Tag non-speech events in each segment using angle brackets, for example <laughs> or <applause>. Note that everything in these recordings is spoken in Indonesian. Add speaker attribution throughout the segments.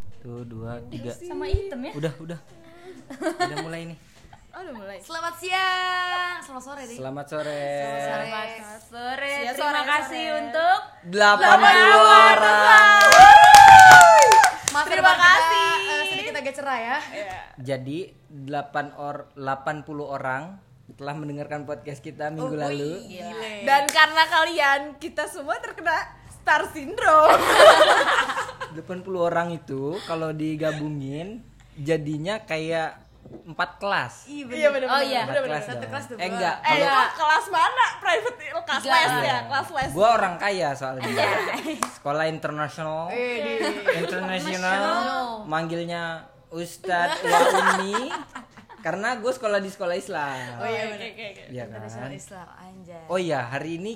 Speaker 1: Satu, dua, tiga.
Speaker 2: Sama item ya?
Speaker 1: Udah, udah. Udah mulai nih.
Speaker 2: Oh, udah mulai.
Speaker 3: Selamat siang, selamat sore deh.
Speaker 1: Selamat sore.
Speaker 3: Selamat
Speaker 2: Sore.
Speaker 3: Siang,
Speaker 2: Terima
Speaker 3: sore,
Speaker 2: kasih
Speaker 3: sore.
Speaker 2: untuk
Speaker 1: Delapan
Speaker 2: Selamat
Speaker 1: orang.
Speaker 3: Maaf
Speaker 2: Terima
Speaker 3: ya, Bang, kita,
Speaker 2: kasih.
Speaker 3: eh, sedikit agak cerah ya.
Speaker 1: Jadi 8 or 80 orang telah mendengarkan podcast kita minggu
Speaker 3: Oh,
Speaker 1: lalu.
Speaker 3: iya.
Speaker 1: Iya.
Speaker 2: dan karena kalian kita semua terkena star syndrome.
Speaker 4: <laughs>
Speaker 1: 80 orang itu kalau digabungin jadinya kayak empat kelas.
Speaker 2: Iya benar. Oh iya.
Speaker 1: Empat kelas
Speaker 3: Satu
Speaker 1: dong.
Speaker 3: kelas dua.
Speaker 1: Eh enggak,
Speaker 2: Eh,
Speaker 1: kalau Iya.
Speaker 2: itu
Speaker 4: Iya.
Speaker 2: kelas mana? Private kelas
Speaker 3: Tiga.
Speaker 2: les ya, kelas les.
Speaker 1: gua orang kaya soalnya. Sekolah internasional.
Speaker 3: Iya.
Speaker 4: iya,
Speaker 1: internasional manggilnya Ustadz wa Umi karena gue sekolah di sekolah Islam.
Speaker 2: Oh iya, oke oke oke.
Speaker 1: Iya kan?
Speaker 3: Internasional Islam, anjay.
Speaker 1: Oh iya, hari ini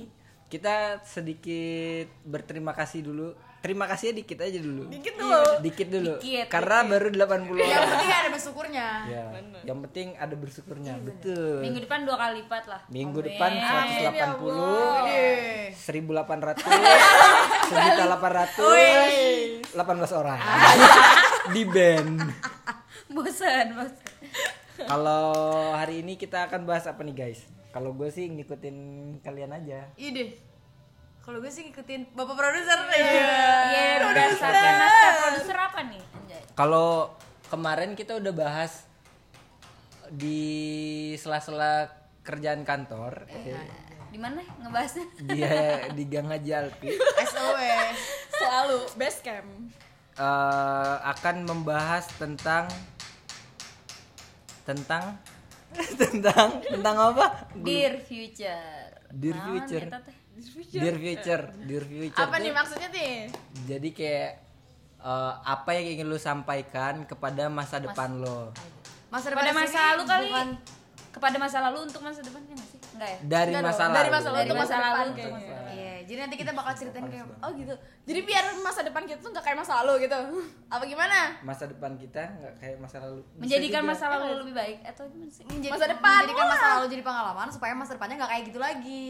Speaker 1: kita sedikit berterima kasih dulu. Terima kasihnya dikit aja dulu. Iya,
Speaker 2: Dikit dulu.
Speaker 1: Dikit dulu.
Speaker 3: Dikit, Iya.
Speaker 1: karena baru 80
Speaker 3: Yang
Speaker 1: orang.
Speaker 3: penting ada bersyukurnya.
Speaker 1: Ya, yang penting ada bersyukurnya. Betul.
Speaker 4: Minggu depan dua kali lipat lah.
Speaker 1: Minggu depan 180 1800 1800 18 orang di band.
Speaker 4: Bosan, bosan.
Speaker 1: Kalau hari ini kita akan bahas apa nih guys? Kalau gue sih ngikutin kalian aja.
Speaker 3: Ide. Iya, Kalau gue sih ngikutin bapak produser nih.
Speaker 4: Iya, berdasarkan naskah produser apa nih? Anjay.
Speaker 1: Kalau kemarin kita udah bahas di sela-sela kerjaan kantor
Speaker 4: Iya.
Speaker 1: eh,
Speaker 4: Di mana ngebahasnya?
Speaker 1: dia di Gang Haji Alpi
Speaker 3: SOS.
Speaker 2: <laughs> Selalu best camp.
Speaker 1: eh, akan membahas tentang tentang <laughs> tentang tentang apa?
Speaker 4: Dear Future.
Speaker 1: Dear
Speaker 2: ya,
Speaker 4: Naon
Speaker 1: Future.
Speaker 4: eta teh?
Speaker 1: Dear future, dear future.
Speaker 2: Apa
Speaker 1: tuh
Speaker 2: nih maksudnya nih?
Speaker 1: Jadi kayak eh, apa yang ingin lu sampaikan kepada masa depan lo?
Speaker 3: Masa depan
Speaker 4: Kepada
Speaker 3: di
Speaker 4: masa
Speaker 3: sini
Speaker 4: lalu kali.
Speaker 3: bukan
Speaker 4: Kepada masa lalu untuk masa depannya nggak sih? Enggak ya?
Speaker 1: Dari
Speaker 2: Enggak
Speaker 1: masa
Speaker 2: dong,
Speaker 1: lalu.
Speaker 2: dari masa lalu
Speaker 4: Dari
Speaker 2: untuk
Speaker 4: masa
Speaker 2: masa
Speaker 4: lalu
Speaker 2: depan
Speaker 4: untuk masa
Speaker 2: kayaknya.
Speaker 4: lalu.
Speaker 3: Iya, jadi nanti kita bakal ceritain kayak
Speaker 2: Oh gitu. Jadi biar masa depan kita tuh nggak kayak masa lalu gitu. Apa gimana?
Speaker 1: Masa depan kita nggak kayak masa lalu. Bisa
Speaker 4: Menjadikan
Speaker 1: juga.
Speaker 4: masa lalu lebih baik atau gimana sih?
Speaker 3: menjadi-
Speaker 2: Masa depan,
Speaker 3: menjadikan masa
Speaker 2: wah.
Speaker 3: lalu kan jadi pengalaman supaya masa depannya nggak kayak gitu lagi.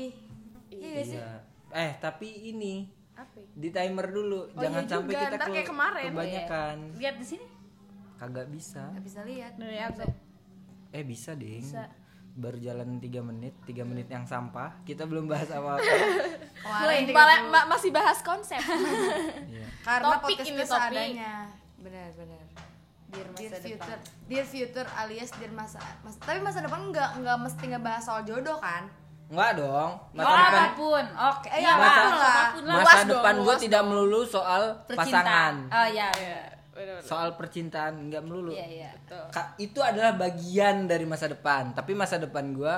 Speaker 3: Iya nggak sih?
Speaker 1: Iya. Eh tapi ini
Speaker 2: Apa?
Speaker 1: di timer dulu,
Speaker 2: Oh
Speaker 1: jangan
Speaker 2: iya
Speaker 1: sampai
Speaker 2: juga,
Speaker 1: kita
Speaker 2: ntar
Speaker 1: ke-
Speaker 2: kayak kemarin. ya.
Speaker 1: kebanyakan.
Speaker 4: Lihat di sini.
Speaker 1: Kagak bisa.
Speaker 3: Nggak bisa lihat.
Speaker 2: Dari apa?
Speaker 1: Eh bisa deh. Baru jalan 3 menit, 3 menit yang sampah. Kita belum bahas apa-apa.
Speaker 3: Kemarin tiga
Speaker 2: Malah-
Speaker 3: puluh.
Speaker 2: ma- masih bahas konsep.
Speaker 1: Iya.
Speaker 3: Karena
Speaker 2: Topik
Speaker 3: podcast
Speaker 2: ini,
Speaker 3: ini
Speaker 2: topik.
Speaker 3: seadanya. Benar, benar.
Speaker 4: Dear
Speaker 3: Dear
Speaker 4: masa depan.
Speaker 3: future, dear future alias dear masa, mas- tapi masa depan nggak nggak mesti ngebahas soal jodoh kan?
Speaker 1: Enggak dong.
Speaker 4: Oh,
Speaker 1: Masa depan
Speaker 4: apapun. Oke,
Speaker 3: Eh,
Speaker 4: iya
Speaker 1: masa-
Speaker 4: lah. Apapun lah.
Speaker 1: masa
Speaker 2: Luas dong,
Speaker 1: depan gue
Speaker 2: luas
Speaker 1: tidak melulu soal pasangan.
Speaker 4: Percintaan. Oh iya.
Speaker 2: Iya, benar.
Speaker 1: Soal percintaan nggak melulu.
Speaker 4: Iya, iya.
Speaker 1: Ka- itu adalah bagian dari masa depan tapi masa depan gue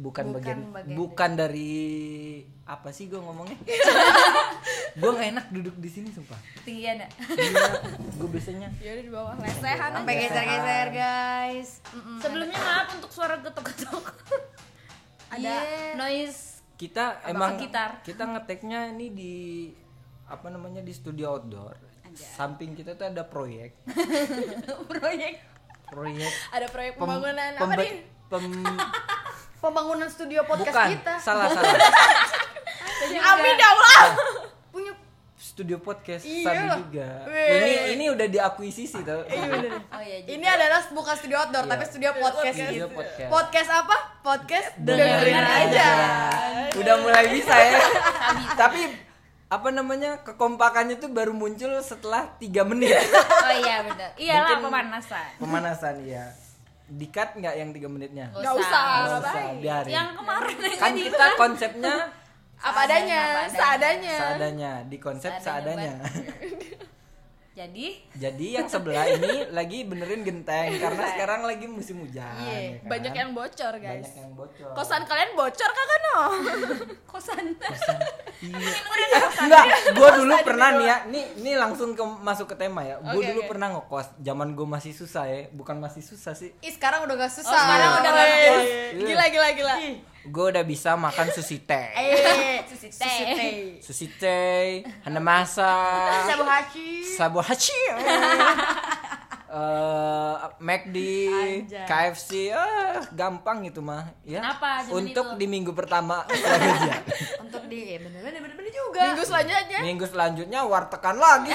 Speaker 1: bukan,
Speaker 3: Bukan
Speaker 1: bagian,
Speaker 3: bagian
Speaker 1: bukan dari apa sih gue ngomongnya gue nggak enak duduk di sini sumpah
Speaker 4: Tinggian ya.
Speaker 2: <laughs>
Speaker 1: gue biasanya
Speaker 2: Ya udah di bawah lesehan
Speaker 3: Sampai
Speaker 2: aja.
Speaker 3: geser-geser guys. Mm-mm.
Speaker 4: <laughs> Sebelumnya maaf untuk suara getok-getok. <laughs> Ada
Speaker 3: Iya.
Speaker 2: <laughs>
Speaker 4: noise
Speaker 1: kita
Speaker 4: Atau
Speaker 1: emang
Speaker 4: sekitar.
Speaker 1: kita ngeteknya ini di apa namanya di studio outdoor samping kita tuh ada proyek
Speaker 4: proyek.
Speaker 1: proyek
Speaker 2: Ada proyek
Speaker 1: pem-
Speaker 2: pembangunan apa
Speaker 1: pembe-
Speaker 2: nih?
Speaker 1: pem-
Speaker 3: Pembangunan studio podcast
Speaker 1: bukan
Speaker 3: kita
Speaker 1: salah salah
Speaker 2: Amin ya Allah.
Speaker 3: punya
Speaker 1: studio podcast
Speaker 2: Iya
Speaker 1: sama
Speaker 2: lah.
Speaker 1: juga
Speaker 2: Weh.
Speaker 1: ini ini udah diakuisisi tau
Speaker 4: Oh iya.
Speaker 3: ini adalah bukan studio outdoor tapi studio podcast.
Speaker 1: Studio
Speaker 3: gitu.
Speaker 1: podcast.
Speaker 3: Podcast apa? Podcast
Speaker 1: Dengerin
Speaker 3: dengerin
Speaker 1: aja.
Speaker 3: aja.
Speaker 1: Udah mulai bisa ya. Tapi apa namanya kekompakannya tuh baru muncul setelah 3 menit.
Speaker 4: <laughs> Oh iya benar. Iyalah
Speaker 1: Mungkin- Iya.
Speaker 4: pemanasan.
Speaker 1: Pemanasan ya. Dikat nggak yang 3 menitnya?
Speaker 4: Nggak
Speaker 2: Gak usah,
Speaker 4: usah.
Speaker 2: nggak
Speaker 1: Nggak usah,
Speaker 2: baik.
Speaker 1: biarin.
Speaker 4: Yang kemarin aja
Speaker 1: Kan
Speaker 4: di
Speaker 1: kita konsepnya
Speaker 2: Apa adanya,
Speaker 4: Seadanya, apa
Speaker 2: seadanya.
Speaker 1: seadanya, di konsep
Speaker 4: Seadanya,
Speaker 1: seadanya.
Speaker 4: Jadi
Speaker 1: <laughs> Jadi yang sebelah ini lagi benerin genteng karena sekarang lagi musim hujan.
Speaker 2: Iya,
Speaker 1: ya kan?
Speaker 2: banyak yang bocor guys.
Speaker 1: Banyak yang bocor. Eh,
Speaker 2: Kosan kalian bocor kagak no?
Speaker 4: <laughs> kosan.
Speaker 1: Iya.
Speaker 4: Udah
Speaker 1: Enggak, gue dulu pernah nih ya. Nih, nih langsung ke, masuk ke tema ya. Gue
Speaker 2: Oke,
Speaker 1: dulu
Speaker 2: oke.
Speaker 1: pernah ngekos. Zaman gue masih susah ya. Bukan masih susah sih.
Speaker 3: Ih, sekarang udah gak susah.
Speaker 4: Oh, sekarang udah gak
Speaker 2: Woi,
Speaker 4: ngekos.
Speaker 2: Gila gila gila.
Speaker 4: Iya.
Speaker 1: Gue udah bisa makan sushi teh.
Speaker 2: Eh,
Speaker 4: Susi teh.
Speaker 2: susi teh.
Speaker 1: Sushi teh, hana masa,
Speaker 3: Sabu hachi.
Speaker 4: <laughs>
Speaker 1: sabu hachi. eh McD,
Speaker 4: Anjay.
Speaker 1: KFC, ah, gampang itu mah ya.
Speaker 4: Kenapa zaman
Speaker 1: Untuk
Speaker 4: itu?
Speaker 1: di minggu
Speaker 4: <laughs>
Speaker 1: pertama setelah kerja.
Speaker 3: Untuk di
Speaker 2: eh,
Speaker 3: bener-bener bener-bener juga.
Speaker 2: Minggu
Speaker 4: Ya.
Speaker 2: selanjutnya
Speaker 1: Minggu selanjutnya wartekan
Speaker 4: <laughs>
Speaker 1: lagi.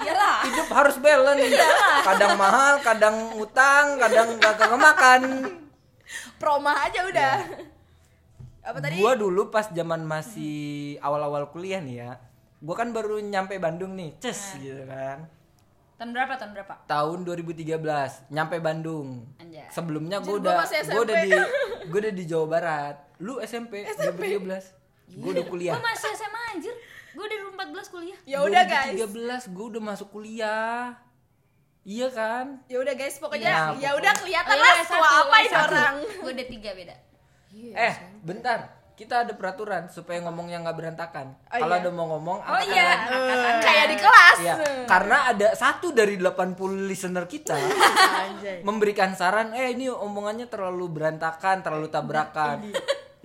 Speaker 4: Iyalah.
Speaker 1: Hidup harus balance.
Speaker 4: Iya
Speaker 1: Kadang mahal, kadang utang, kadang gak kemakan.
Speaker 2: promo aja udah.
Speaker 4: Oh,
Speaker 2: Apa tadi?
Speaker 1: Gua dulu pas zaman masih awal-awal kuliah nih ya. Gua kan baru nyampe Bandung nih,
Speaker 4: Nah.
Speaker 1: ces gitu kan.
Speaker 4: Tahun berapa? Tahun berapa?
Speaker 1: tahun 2013 nyampe Bandung.
Speaker 4: Anjay.
Speaker 1: Sebelumnya gue
Speaker 2: Anjir, gua
Speaker 1: udah
Speaker 2: masih
Speaker 1: gue udah
Speaker 2: SMP.
Speaker 1: di gue udah di Jawa Barat. Lu SMP, 2013. Gue udah kuliah.
Speaker 4: Gue masih SMA anjir. Gue dari 14 kuliah.
Speaker 2: Iya. Ya udah guys.
Speaker 1: 2013 gue udah masuk kuliah. Iya kan?
Speaker 2: Ya udah guys, pokoknya
Speaker 1: Ya,
Speaker 2: ya udah kelihatan lah tua apa ini orang.
Speaker 4: Gue udah tiga beda.
Speaker 2: Iya,
Speaker 1: eh, bentar. Kita ada peraturan supaya ngomongnya nggak berantakan.
Speaker 2: Oh,
Speaker 1: Kalau
Speaker 2: iya.
Speaker 1: ada mau ngomong
Speaker 4: Oh
Speaker 1: angkat
Speaker 4: iya.
Speaker 1: tangan.
Speaker 4: angkatan.
Speaker 2: Kayak di kelas.
Speaker 1: Iya, karena ada satu dari 80 listener kita
Speaker 2: Anjay.
Speaker 1: memberikan saran, eh ini omongannya terlalu berantakan, terlalu tabrakan.
Speaker 2: Iya.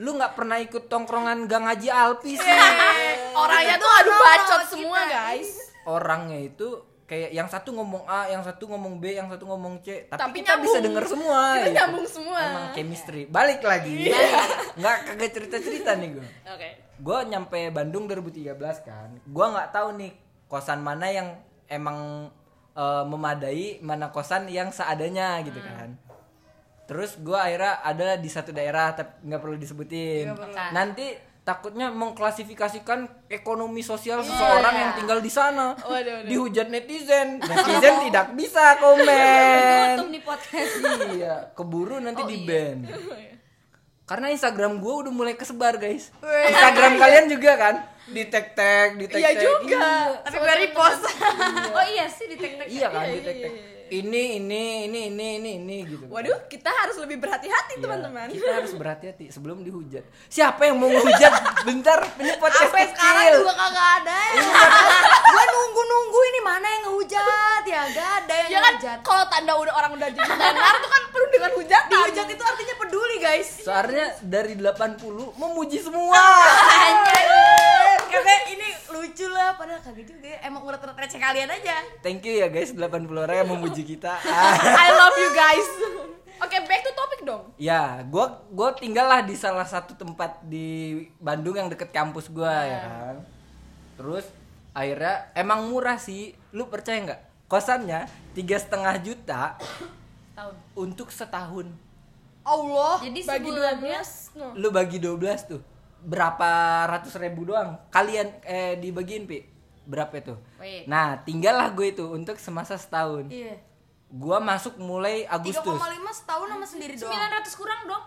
Speaker 1: Lu nggak pernah ikut tongkrongan gang Haji Alpi sih.
Speaker 2: Iya. Orangnya tuh aduh bacot semua guys.
Speaker 1: Orangnya itu kayak yang satu ngomong A, yang satu ngomong B, yang satu ngomong C, tapi,
Speaker 2: Tapi
Speaker 1: kita bisa
Speaker 2: nyambung.
Speaker 1: denger semua.
Speaker 2: Kita
Speaker 1: gitu.
Speaker 2: nyambung semua. Iya.
Speaker 1: Emang chemistry. Balik lagi. Nggak kagak cerita-cerita nih gue.
Speaker 4: Oke.
Speaker 1: gue nyampe Bandung 2013 kan gue nggak tahu nih kosan mana yang emang eh, memadai mana kosan yang seadanya gitu kan terus gue akhirnya ada di satu daerah tapi nggak perlu disebutin nanti takutnya mengklasifikasikan ekonomi sosial seseorang yang tinggal di sana dihujat netizen netizen tidak bisa komen
Speaker 4: Tutup nih podcast.
Speaker 1: iya keburu nanti di ban karena Instagram gue udah mulai kesebar guys
Speaker 2: Weh.
Speaker 1: Instagram kalian juga kan di tag tag di tag
Speaker 2: Iya juga. Tapi gue repost.
Speaker 4: Oh iya sih di teknik.
Speaker 1: iya kan di tag tag ini ini ini ini ini ini gitu
Speaker 2: Waduh, kita harus lebih
Speaker 1: Iya,
Speaker 2: berhati-hati teman-teman.
Speaker 1: kita harus berhati-hati sebelum dihujat siapa yang mau ngehujat bentar ini podcast
Speaker 3: Sampai sekarang
Speaker 1: kecil
Speaker 3: juga kagak ada ya. gue nunggu-nunggu ini mana yang ngehujat ya, gak ada yang
Speaker 2: Ya kan
Speaker 3: ngehujat.
Speaker 2: kalau tanda udah orang udah jadi tenar tuh kan perlu dengan hujatan.
Speaker 3: Dihujat itu artinya peduli
Speaker 2: <laughs>
Speaker 3: guys.
Speaker 1: soalnya dari 80 memuji semua
Speaker 3: Karena ini lucu lah, padahal kagak juga ya. Emang urat-urat receh kalian aja.
Speaker 1: thank you ya guys 80 orang yang memuji kita
Speaker 2: <laughs> I love you guys. Oke, back to topic dong.
Speaker 1: Ya, gua gua tinggal lah di salah satu tempat di Bandung yang deket kampus gua ya kan. Terus akhirnya emang murah sih. Lu percaya nggak? Kosannya tiga setengah juta
Speaker 4: Tahun.
Speaker 1: untuk setahun.
Speaker 2: Allah
Speaker 4: Jadi
Speaker 2: Oh, bagi
Speaker 4: sebulannya-
Speaker 2: 12. No.
Speaker 1: Lu bagi 12 tuh berapa ratus ribu doang. Kalian eh dibagiin pi berapa tuh?
Speaker 4: Wait.
Speaker 1: Nah, tinggallah gue itu untuk semasa setahun.
Speaker 3: Iya.
Speaker 1: Gua masuk mulai
Speaker 3: 3,5
Speaker 1: Agustus.
Speaker 3: setahun sama sendiri doang.
Speaker 4: 900 kurang dong.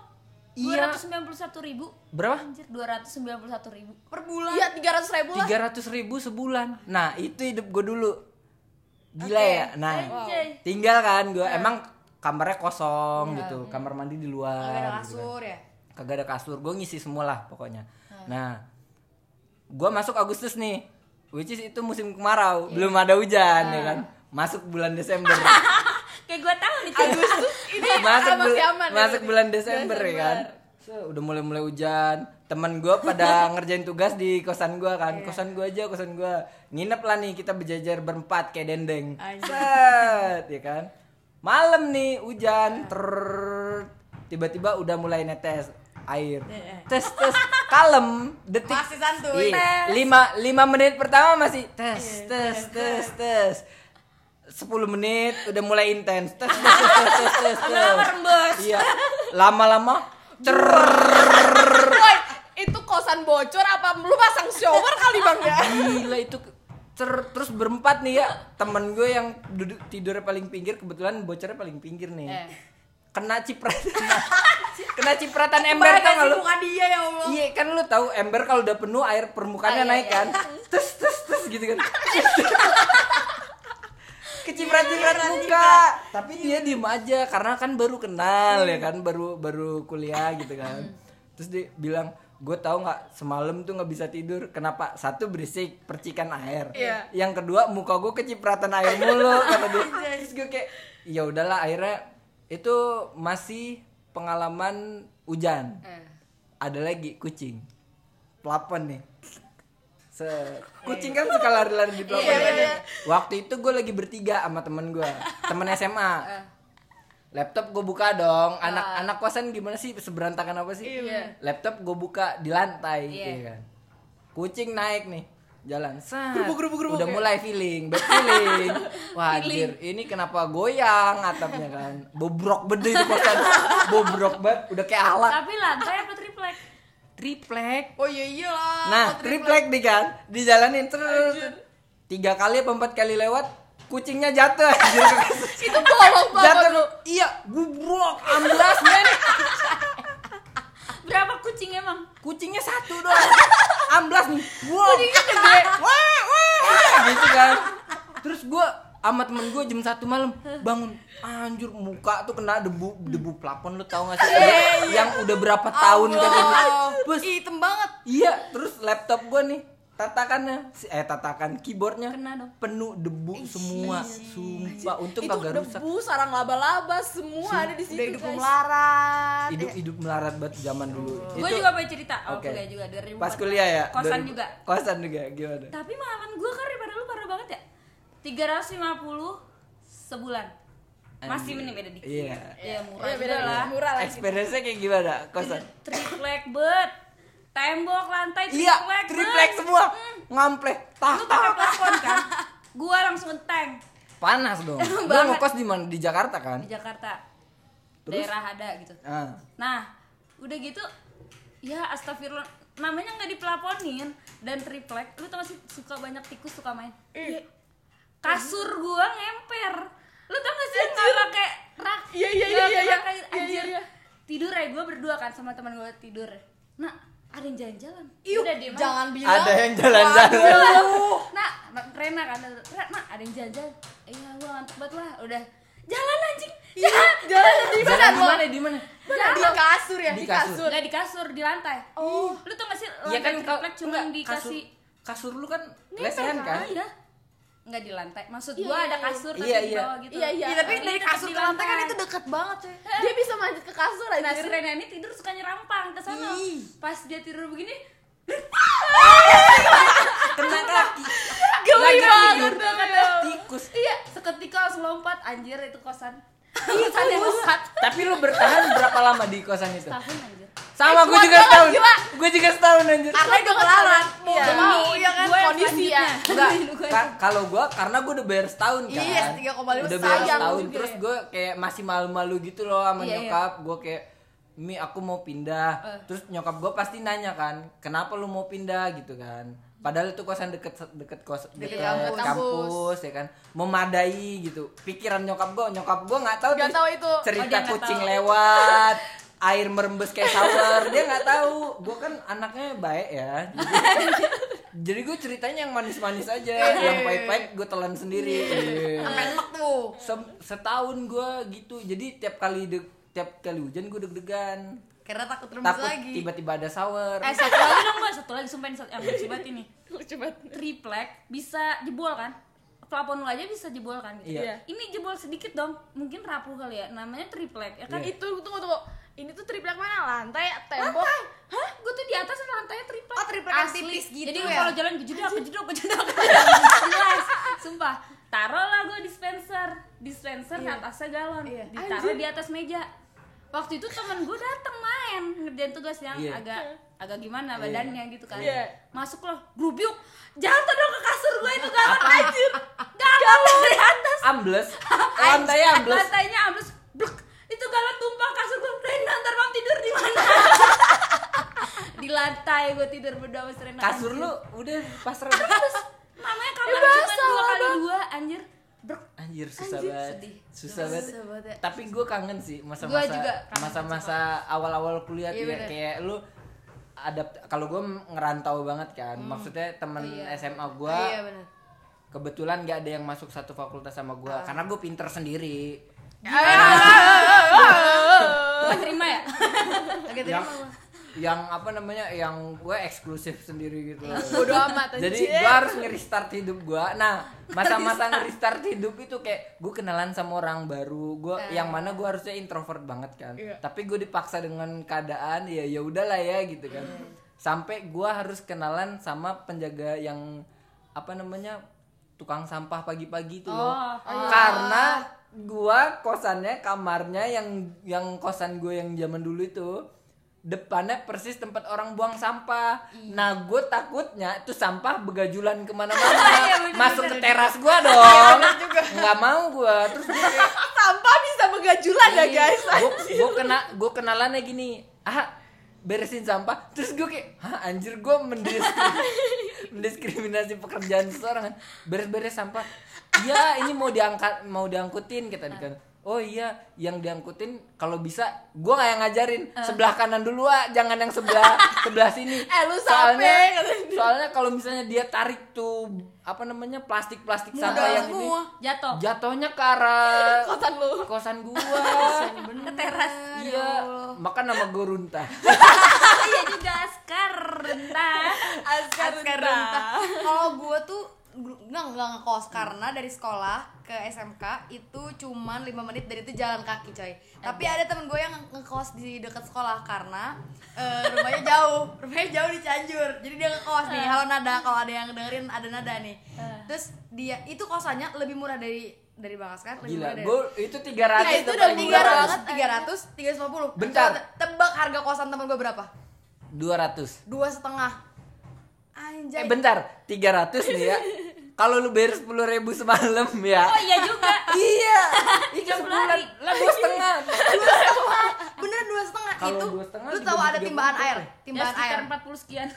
Speaker 1: Iya.
Speaker 4: 291 ribu.
Speaker 1: Berapa?
Speaker 4: Anjir 291 ribu.
Speaker 3: Per bulan.
Speaker 2: Iya, 300 ribu lah.
Speaker 1: tiga ratus ribu sebulan nah itu hidup gue dulu gila ya nah
Speaker 4: Eh, Anjay.
Speaker 1: tinggal kan gue emang kamarnya kosong gitu kamar mandi di luar
Speaker 3: Ada
Speaker 1: gitu
Speaker 3: kasur ya.
Speaker 1: kan. kagak ada kasur gue ngisi semua lah pokoknya nah gue masuk Agustus nih which is itu musim kemarau belum ada hujan ya kan masuk bulan Desember
Speaker 4: Kayak gue tahu nih. Agustus.
Speaker 1: <laughs> masuk,
Speaker 2: masih
Speaker 1: bul-
Speaker 2: aman ya
Speaker 1: masuk
Speaker 2: berarti.
Speaker 1: bulan Desember, ya kan So, udah mulai mulai hujan temen gue pada ngerjain tugas di kosan gue kan kosan gue aja kosan gue nginep lah nih kita berjajar berempat kayak dendeng set ya kan malam nih hujan ter tiba-tiba udah mulai netes air tes tes kalem detik
Speaker 3: Masih santuy.
Speaker 1: Iya. lima lima menit pertama masih tes tes tes tes 10 menit udah mulai intens tes tes tes tes tes, tes, tes.
Speaker 4: Lama-lama rembes.
Speaker 1: iya lama-lama cer
Speaker 2: Boy, itu kosan bocor apa lu pasang shower kali Bang ya?
Speaker 3: <laughs>
Speaker 1: gila itu cer terus berempat nih ya temen gue yang duduk tidurnya paling pinggir kebetulan bocornya paling pinggir nih
Speaker 4: Eh.
Speaker 1: kena cipratan <laughs> kena cipratan ember tau gak lu
Speaker 3: bukan dia ya Allah.
Speaker 1: Iya kan lu tahu ember kalau udah penuh air permukaannya naik kan. Terus terus terus gitu kan. Keciprat-ciprat muka. Tapi dia diem aja karena kan baru kenal ya kan baru baru kuliah gitu kan. Terus dia bilang gue tahu nggak semalam tuh nggak bisa tidur kenapa satu berisik percikan air
Speaker 2: Iya.
Speaker 1: yang kedua muka gue kecipratan air mulu kata dia terus gue kayak ya udahlah akhirnya itu masih pengalaman hujan ada lagi kucing pelapon nih Se- kucing kan suka lari-lari di belakang.
Speaker 3: Iya, iya, iya.
Speaker 1: Waktu itu gue lagi bertiga sama temen gue, temen
Speaker 2: <laughs>
Speaker 1: SMA.
Speaker 2: Eh.
Speaker 1: Laptop gue buka dong. Anak-anak kosan gimana sih seberantakan apa sih?
Speaker 2: Ah. Iya.
Speaker 1: Laptop gue buka di lantai,
Speaker 4: Iya.
Speaker 1: iya kan. Kucing naik nih, jalan. Sat.
Speaker 2: Gerubuk, gerubuk, gerubuk,
Speaker 1: Udah
Speaker 2: ya?
Speaker 1: mulai feeling, bad
Speaker 2: <laughs>
Speaker 1: feeling. Wah, anjir, ini kenapa goyang atapnya kan? Bobrok bede itu
Speaker 2: <laughs>
Speaker 1: kosan. Bobrok banget, udah kayak alat.
Speaker 4: Tapi lantai apa triplek?
Speaker 1: Triplek.
Speaker 2: Oh iya iyalah.
Speaker 1: Nah, triplek nih kan, dijalanin terus. Tiga kali apa empat kali lewat, kucingnya jatuh. anjir.
Speaker 2: <laughs> Itu bolong banget.
Speaker 1: jatuh. Iya, gubrok, amblas men.
Speaker 4: Berapa kucing emang?
Speaker 1: Kucingnya satu doang. Amblas nih. Wow. Wah, wah. Gitu kan. Terus gua sama temen gue jam satu malam bangun anjur muka tuh kena debu debu plafon lu tau gak sih yang udah berapa tahun kan
Speaker 2: Iya, Allah.
Speaker 1: Bus.
Speaker 3: Ih, hitam banget
Speaker 1: Iya, terus laptop gua nih tatakannya si- eh tatakan keyboardnya penuh debu semua
Speaker 4: iya,
Speaker 1: sumpah untung
Speaker 2: Itu
Speaker 1: kagak rusak
Speaker 2: debu, sarang laba-laba, semua ada di situ.
Speaker 3: dari hidup
Speaker 2: guys.
Speaker 3: melarat
Speaker 1: hidup hidup melarat Eh, banget zaman dulu
Speaker 4: Gue ya. juga punya cerita. Oh,
Speaker 1: Oke.
Speaker 4: kuliah juga 2004.
Speaker 1: pas kuliah ya
Speaker 4: Kosan
Speaker 1: 2000
Speaker 4: juga.
Speaker 1: kosan juga gimana
Speaker 4: Tapi mahalan gue kan daripada lu parah banget ya. 350 sebulan. Masih ini beda dikit.
Speaker 1: Iya.
Speaker 4: Ya murah
Speaker 2: Iya, beda
Speaker 4: juga lah.
Speaker 2: Murah
Speaker 1: Eh,
Speaker 2: lah.
Speaker 1: experience-nya kayak gimana kosan
Speaker 4: Triplek bet. Tembok lantai
Speaker 1: iya
Speaker 4: triplek.
Speaker 1: triplek
Speaker 4: bet.
Speaker 1: semua
Speaker 4: Mm.
Speaker 1: ngampleh tak
Speaker 4: Lu pakai
Speaker 1: tak
Speaker 4: plafon kan? Gua langsung tank
Speaker 1: panas dong gua
Speaker 4: <laughs> Banget.
Speaker 1: ngekos di mana di Jakarta kan
Speaker 4: di Jakarta.
Speaker 1: Terus?
Speaker 4: Daerah ada gitu.
Speaker 1: ah.
Speaker 4: Nah, udah gitu ya astagfirullah namanya nggak diplaponin dan triplek lu tau gak sih suka banyak tikus suka main
Speaker 2: Mm.
Speaker 4: Iya. kasur gua ngemper lu tau gak sih yang nggak pakai rak
Speaker 2: Iya,
Speaker 4: nggak
Speaker 2: iya, iya, iya,
Speaker 4: pakai-
Speaker 2: iya, iya,
Speaker 4: anjir
Speaker 2: iya.
Speaker 4: tidur ya gua berdua kan sama teman gua tidur nah ada yang jalan-jalan
Speaker 2: Ih,
Speaker 4: udah diem aja.
Speaker 2: jangan bilang.
Speaker 1: ada yang jalan-jalan
Speaker 4: <laughs> Nah, Rena kan, Rena nah, ada yang jalan-jalan. Iya, gua ngantuk banget lah. Udah jalan anjing. Jalan,
Speaker 2: iya,
Speaker 1: <laughs>
Speaker 2: Jalan di mana?
Speaker 1: Jalan di mana di mana
Speaker 4: jalan.
Speaker 2: Di kasur ya,
Speaker 1: Di
Speaker 2: di
Speaker 1: kasur.
Speaker 2: kasur.
Speaker 4: Enggak di kasur, di lantai. Oh. Lu tuh gak sih lantai
Speaker 1: Iya kan
Speaker 4: triplek
Speaker 1: kau
Speaker 4: cuma
Speaker 1: enggak,
Speaker 4: dikasih
Speaker 1: kasur, kasur lu kan
Speaker 4: Nempel
Speaker 1: lesehan kan?
Speaker 4: Iya. Enggak di lantai. Maksud
Speaker 2: Iya,
Speaker 4: gua
Speaker 2: iya,
Speaker 4: ada
Speaker 2: iya.
Speaker 4: kasur tapi
Speaker 1: Iya,
Speaker 4: di
Speaker 1: iya.
Speaker 4: bawah gitu.
Speaker 2: Iya, iya.
Speaker 3: Iya, tapi dari
Speaker 4: tetep
Speaker 3: kasur
Speaker 4: di
Speaker 3: ke lantai kan
Speaker 4: lantai.
Speaker 3: itu deket banget coy
Speaker 2: Dia bisa manjat ke kasur aja.
Speaker 4: Nah, si Rena ini tidur suka nyerampang ke sana.
Speaker 1: Ih.
Speaker 4: Pas dia tidur begini,
Speaker 1: Kena kaki.
Speaker 2: Geli
Speaker 1: Lagi
Speaker 2: banget
Speaker 1: tidur.
Speaker 2: banget.
Speaker 1: Tikus.
Speaker 4: iya, seketika langsung lompat anjir itu kosan. Kosan yang rusak.
Speaker 1: Tapi lu bertahan berapa lama di kosan itu?
Speaker 4: Tahun anjir.
Speaker 1: Sama gue juga setahun. Gue juga setahun anjir.
Speaker 3: karena udah melarat
Speaker 2: Mau
Speaker 3: Iya.
Speaker 2: gak mau,
Speaker 4: Demi
Speaker 2: iya kan
Speaker 4: gue
Speaker 2: kondisi ya.
Speaker 1: Enggak, ka- kalau gue karena gue udah bayar setahun kan.
Speaker 3: Iya, 3,5
Speaker 1: Udah bayar
Speaker 3: sayang
Speaker 1: setahun
Speaker 2: juga
Speaker 1: terus gue kayak masih malu-malu gitu loh sama
Speaker 4: Iya,
Speaker 1: nyokap. Gue kayak Mi aku mau pindah. Terus nyokap gue pasti nanya kan, "Kenapa lu mau pindah?" gitu kan. Padahal itu kosan deket deket kos deket,
Speaker 3: Deket kampus.
Speaker 1: kampus ya kan. Memadai gitu. Pikiran nyokap gue, nyokap gue nggak tahu
Speaker 2: Nggak
Speaker 1: tuh
Speaker 2: tahu itu.
Speaker 4: Oh,
Speaker 1: cerita
Speaker 4: dia nggak
Speaker 1: kucing
Speaker 4: tahu.
Speaker 1: lewat air merembes kayak shower dia nggak tahu gue kan anaknya baik ya jadi, jadi gue ceritanya yang manis-manis aja yang pahit-pahit gue telan sendiri
Speaker 3: sampai enak tuh
Speaker 1: Se- setahun gue gitu jadi tiap kali de- tiap kali hujan gue deg-degan
Speaker 3: karena takut rembes
Speaker 1: takut
Speaker 3: lagi
Speaker 1: tiba-tiba ada shower
Speaker 4: Eh satu lagi dong mbak, satu lagi sumpahin satu yang lucu banget ini
Speaker 2: Lucu banget.
Speaker 4: Triplek bisa jebol kan? Plafon lu aja bisa jebol kan? Gitu.
Speaker 1: Iya.
Speaker 4: Ini jebol sedikit dong, mungkin rapuh kali ya, namanya triplek ya kan?
Speaker 1: Iya.
Speaker 2: Itu tunggu tunggu. Ini tuh triplek mana? Lantai, tembok.
Speaker 4: Hah? Gue tuh di atas lantainya triplek
Speaker 3: Oh, triplek yang
Speaker 4: Asli.
Speaker 3: tipis gitu
Speaker 4: Jadi
Speaker 3: ya?
Speaker 4: kalau jalan kejedok, kejedok, kejedok
Speaker 3: <laughs>
Speaker 4: Jelas, sumpah Taruh lah gue dispenser Dispenser atasnya galon
Speaker 2: Iya.
Speaker 4: Ditaruh di atas meja Waktu itu temen gue dateng main Ngerjain tugas yang
Speaker 1: Iya.
Speaker 4: agak agak gimana badannya gitu kan
Speaker 2: Iya.
Speaker 4: Masuk loh, grubyuk Jatuh dong ke kasur gue itu galon anjir
Speaker 3: <laughs>
Speaker 4: Galon dari atas <laughs>
Speaker 1: ambles lantai ambles
Speaker 4: Lantainya ambles Blek. Itu galon tumpah kasur gue Rena ntar mam tidur di
Speaker 1: <laughs>
Speaker 4: mana Di lantai gue tidur berdua sama si Rena
Speaker 1: kasur Ya lu udah pasrah
Speaker 4: Mamanya kamar cuma dua kali dua anjir Brek.
Speaker 1: Anjir susah
Speaker 4: Anjir,
Speaker 1: banget.
Speaker 4: sedih.
Speaker 1: Susah banget.
Speaker 3: Susah banget ya.
Speaker 1: Tapi gue kangen sih
Speaker 4: Gua
Speaker 1: masa-masa
Speaker 4: juga kangen
Speaker 1: masa-masa awal-awal kuliah
Speaker 3: Iya,
Speaker 1: ya,
Speaker 3: bener.
Speaker 1: kayak lu ada kalau gue ngerantau banget kan. Maksudnya temen SMA gue
Speaker 3: Hmm. iya benar
Speaker 1: kebetulan gak ada yang masuk satu fakultas sama gue
Speaker 3: Ah.
Speaker 1: karena gue pinter sendiri.
Speaker 4: Gak terima
Speaker 1: <laughs>
Speaker 4: ya
Speaker 1: yang
Speaker 3: agak terima gua.
Speaker 1: yang apa namanya yang gue eksklusif sendiri
Speaker 3: <laughs>
Speaker 1: gitu.
Speaker 2: Bodoh amat
Speaker 1: Jadi
Speaker 2: anjir.
Speaker 1: gue harus nge-restart hidup gue. Nah, masa-masa nge-restart hidup itu kayak gue kenalan sama orang baru. Gue yang mana gue harusnya introvert banget kan.
Speaker 2: Iya.
Speaker 1: Tapi gue dipaksa dengan keadaan ya ya udahlah ya gitu kan. sampai gua harus kenalan sama penjaga yang apa namanya tukang sampah pagi-pagi itu loh
Speaker 4: Oh,
Speaker 1: karena gua kosannya kamarnya yang yang kosan gue yang zaman dulu itu depannya persis tempat orang buang sampah. Nah, gue takutnya itu sampah begajulan kemana-mana, masuk ke teras gua dong. nggak mau gua. Terus gue
Speaker 2: Sampah bisa begajulan
Speaker 3: Iya,
Speaker 2: ya guys.
Speaker 1: gue Iya. kena gue kenalannya gini ah beresin sampah terus gue kayak Hah, anjir gue
Speaker 2: <laughs>
Speaker 1: mendiskriminasi pekerjaan seseorang kan beres-beres sampah iya ini mau diangkat mau diangkutin kita kan oh iya yang diangkutin kalau bisa gue kayak ngajarin sebelah kanan dulu ah jangan yang sebelah sebelah sini
Speaker 2: <laughs> Eh, lu
Speaker 1: soalnya
Speaker 2: sampe, kata dia.
Speaker 1: soalnya kalau misalnya dia tarik tuh apa namanya plastik plastik sampah yang ini
Speaker 2: semua.
Speaker 1: <laughs>
Speaker 4: jatuh
Speaker 1: jatuhnya ke arah
Speaker 2: Kosan lu.
Speaker 1: kosan gua
Speaker 4: ke teras.
Speaker 1: Iya, makan nama gue runtah.
Speaker 4: Iya juga askar rentah.
Speaker 2: Askar rentah.
Speaker 3: Kalau gue tuh gru- nggak nggak ngekos karena dari sekolah ke SMK itu cuman 5 menit dari itu jalan kaki coy. Tapi ada temen gue yang ngekos di dekat sekolah karena eh, rumahnya jauh, <laughs> rumahnya jauh di Cianjur. Jadi dia ngekos nih. Halo Nada, kalau ada yang dengerin ada Nada nih.
Speaker 2: Eh.
Speaker 3: Terus dia itu kosannya lebih murah dari dari Bang Askar, lebih
Speaker 1: Gila,
Speaker 3: murah dari
Speaker 1: gue itu 300
Speaker 3: Nah, itu udah
Speaker 1: dapat
Speaker 3: tiga
Speaker 1: 200.
Speaker 3: banget, tiga ratus, tiga ratus lima puluh.
Speaker 1: Bentar.
Speaker 3: Tebak harga kosan teman gue berapa?
Speaker 1: 200.
Speaker 3: Dua setengah.
Speaker 1: Eh
Speaker 3: Anjay.
Speaker 1: bentar, 300 nih ya. Kalau lu bayar 10 ribu semalam ya.
Speaker 4: Oh iya juga.
Speaker 1: <laughs> iya, itu
Speaker 4: Jam
Speaker 1: sebulan
Speaker 4: lari.
Speaker 1: lah
Speaker 4: <laughs>
Speaker 1: dua setengah.
Speaker 3: Dua setengah. <laughs> Beneran dua setengah
Speaker 1: Kalau
Speaker 3: itu.
Speaker 1: dua setengah
Speaker 3: Lu
Speaker 1: dibagi
Speaker 3: tahu ada
Speaker 1: tiga
Speaker 3: timbahan
Speaker 1: puluh
Speaker 3: air,
Speaker 1: berapa
Speaker 4: Ya
Speaker 3: timbahan air.
Speaker 4: sekitar
Speaker 1: <laughs>
Speaker 4: 40 sekian.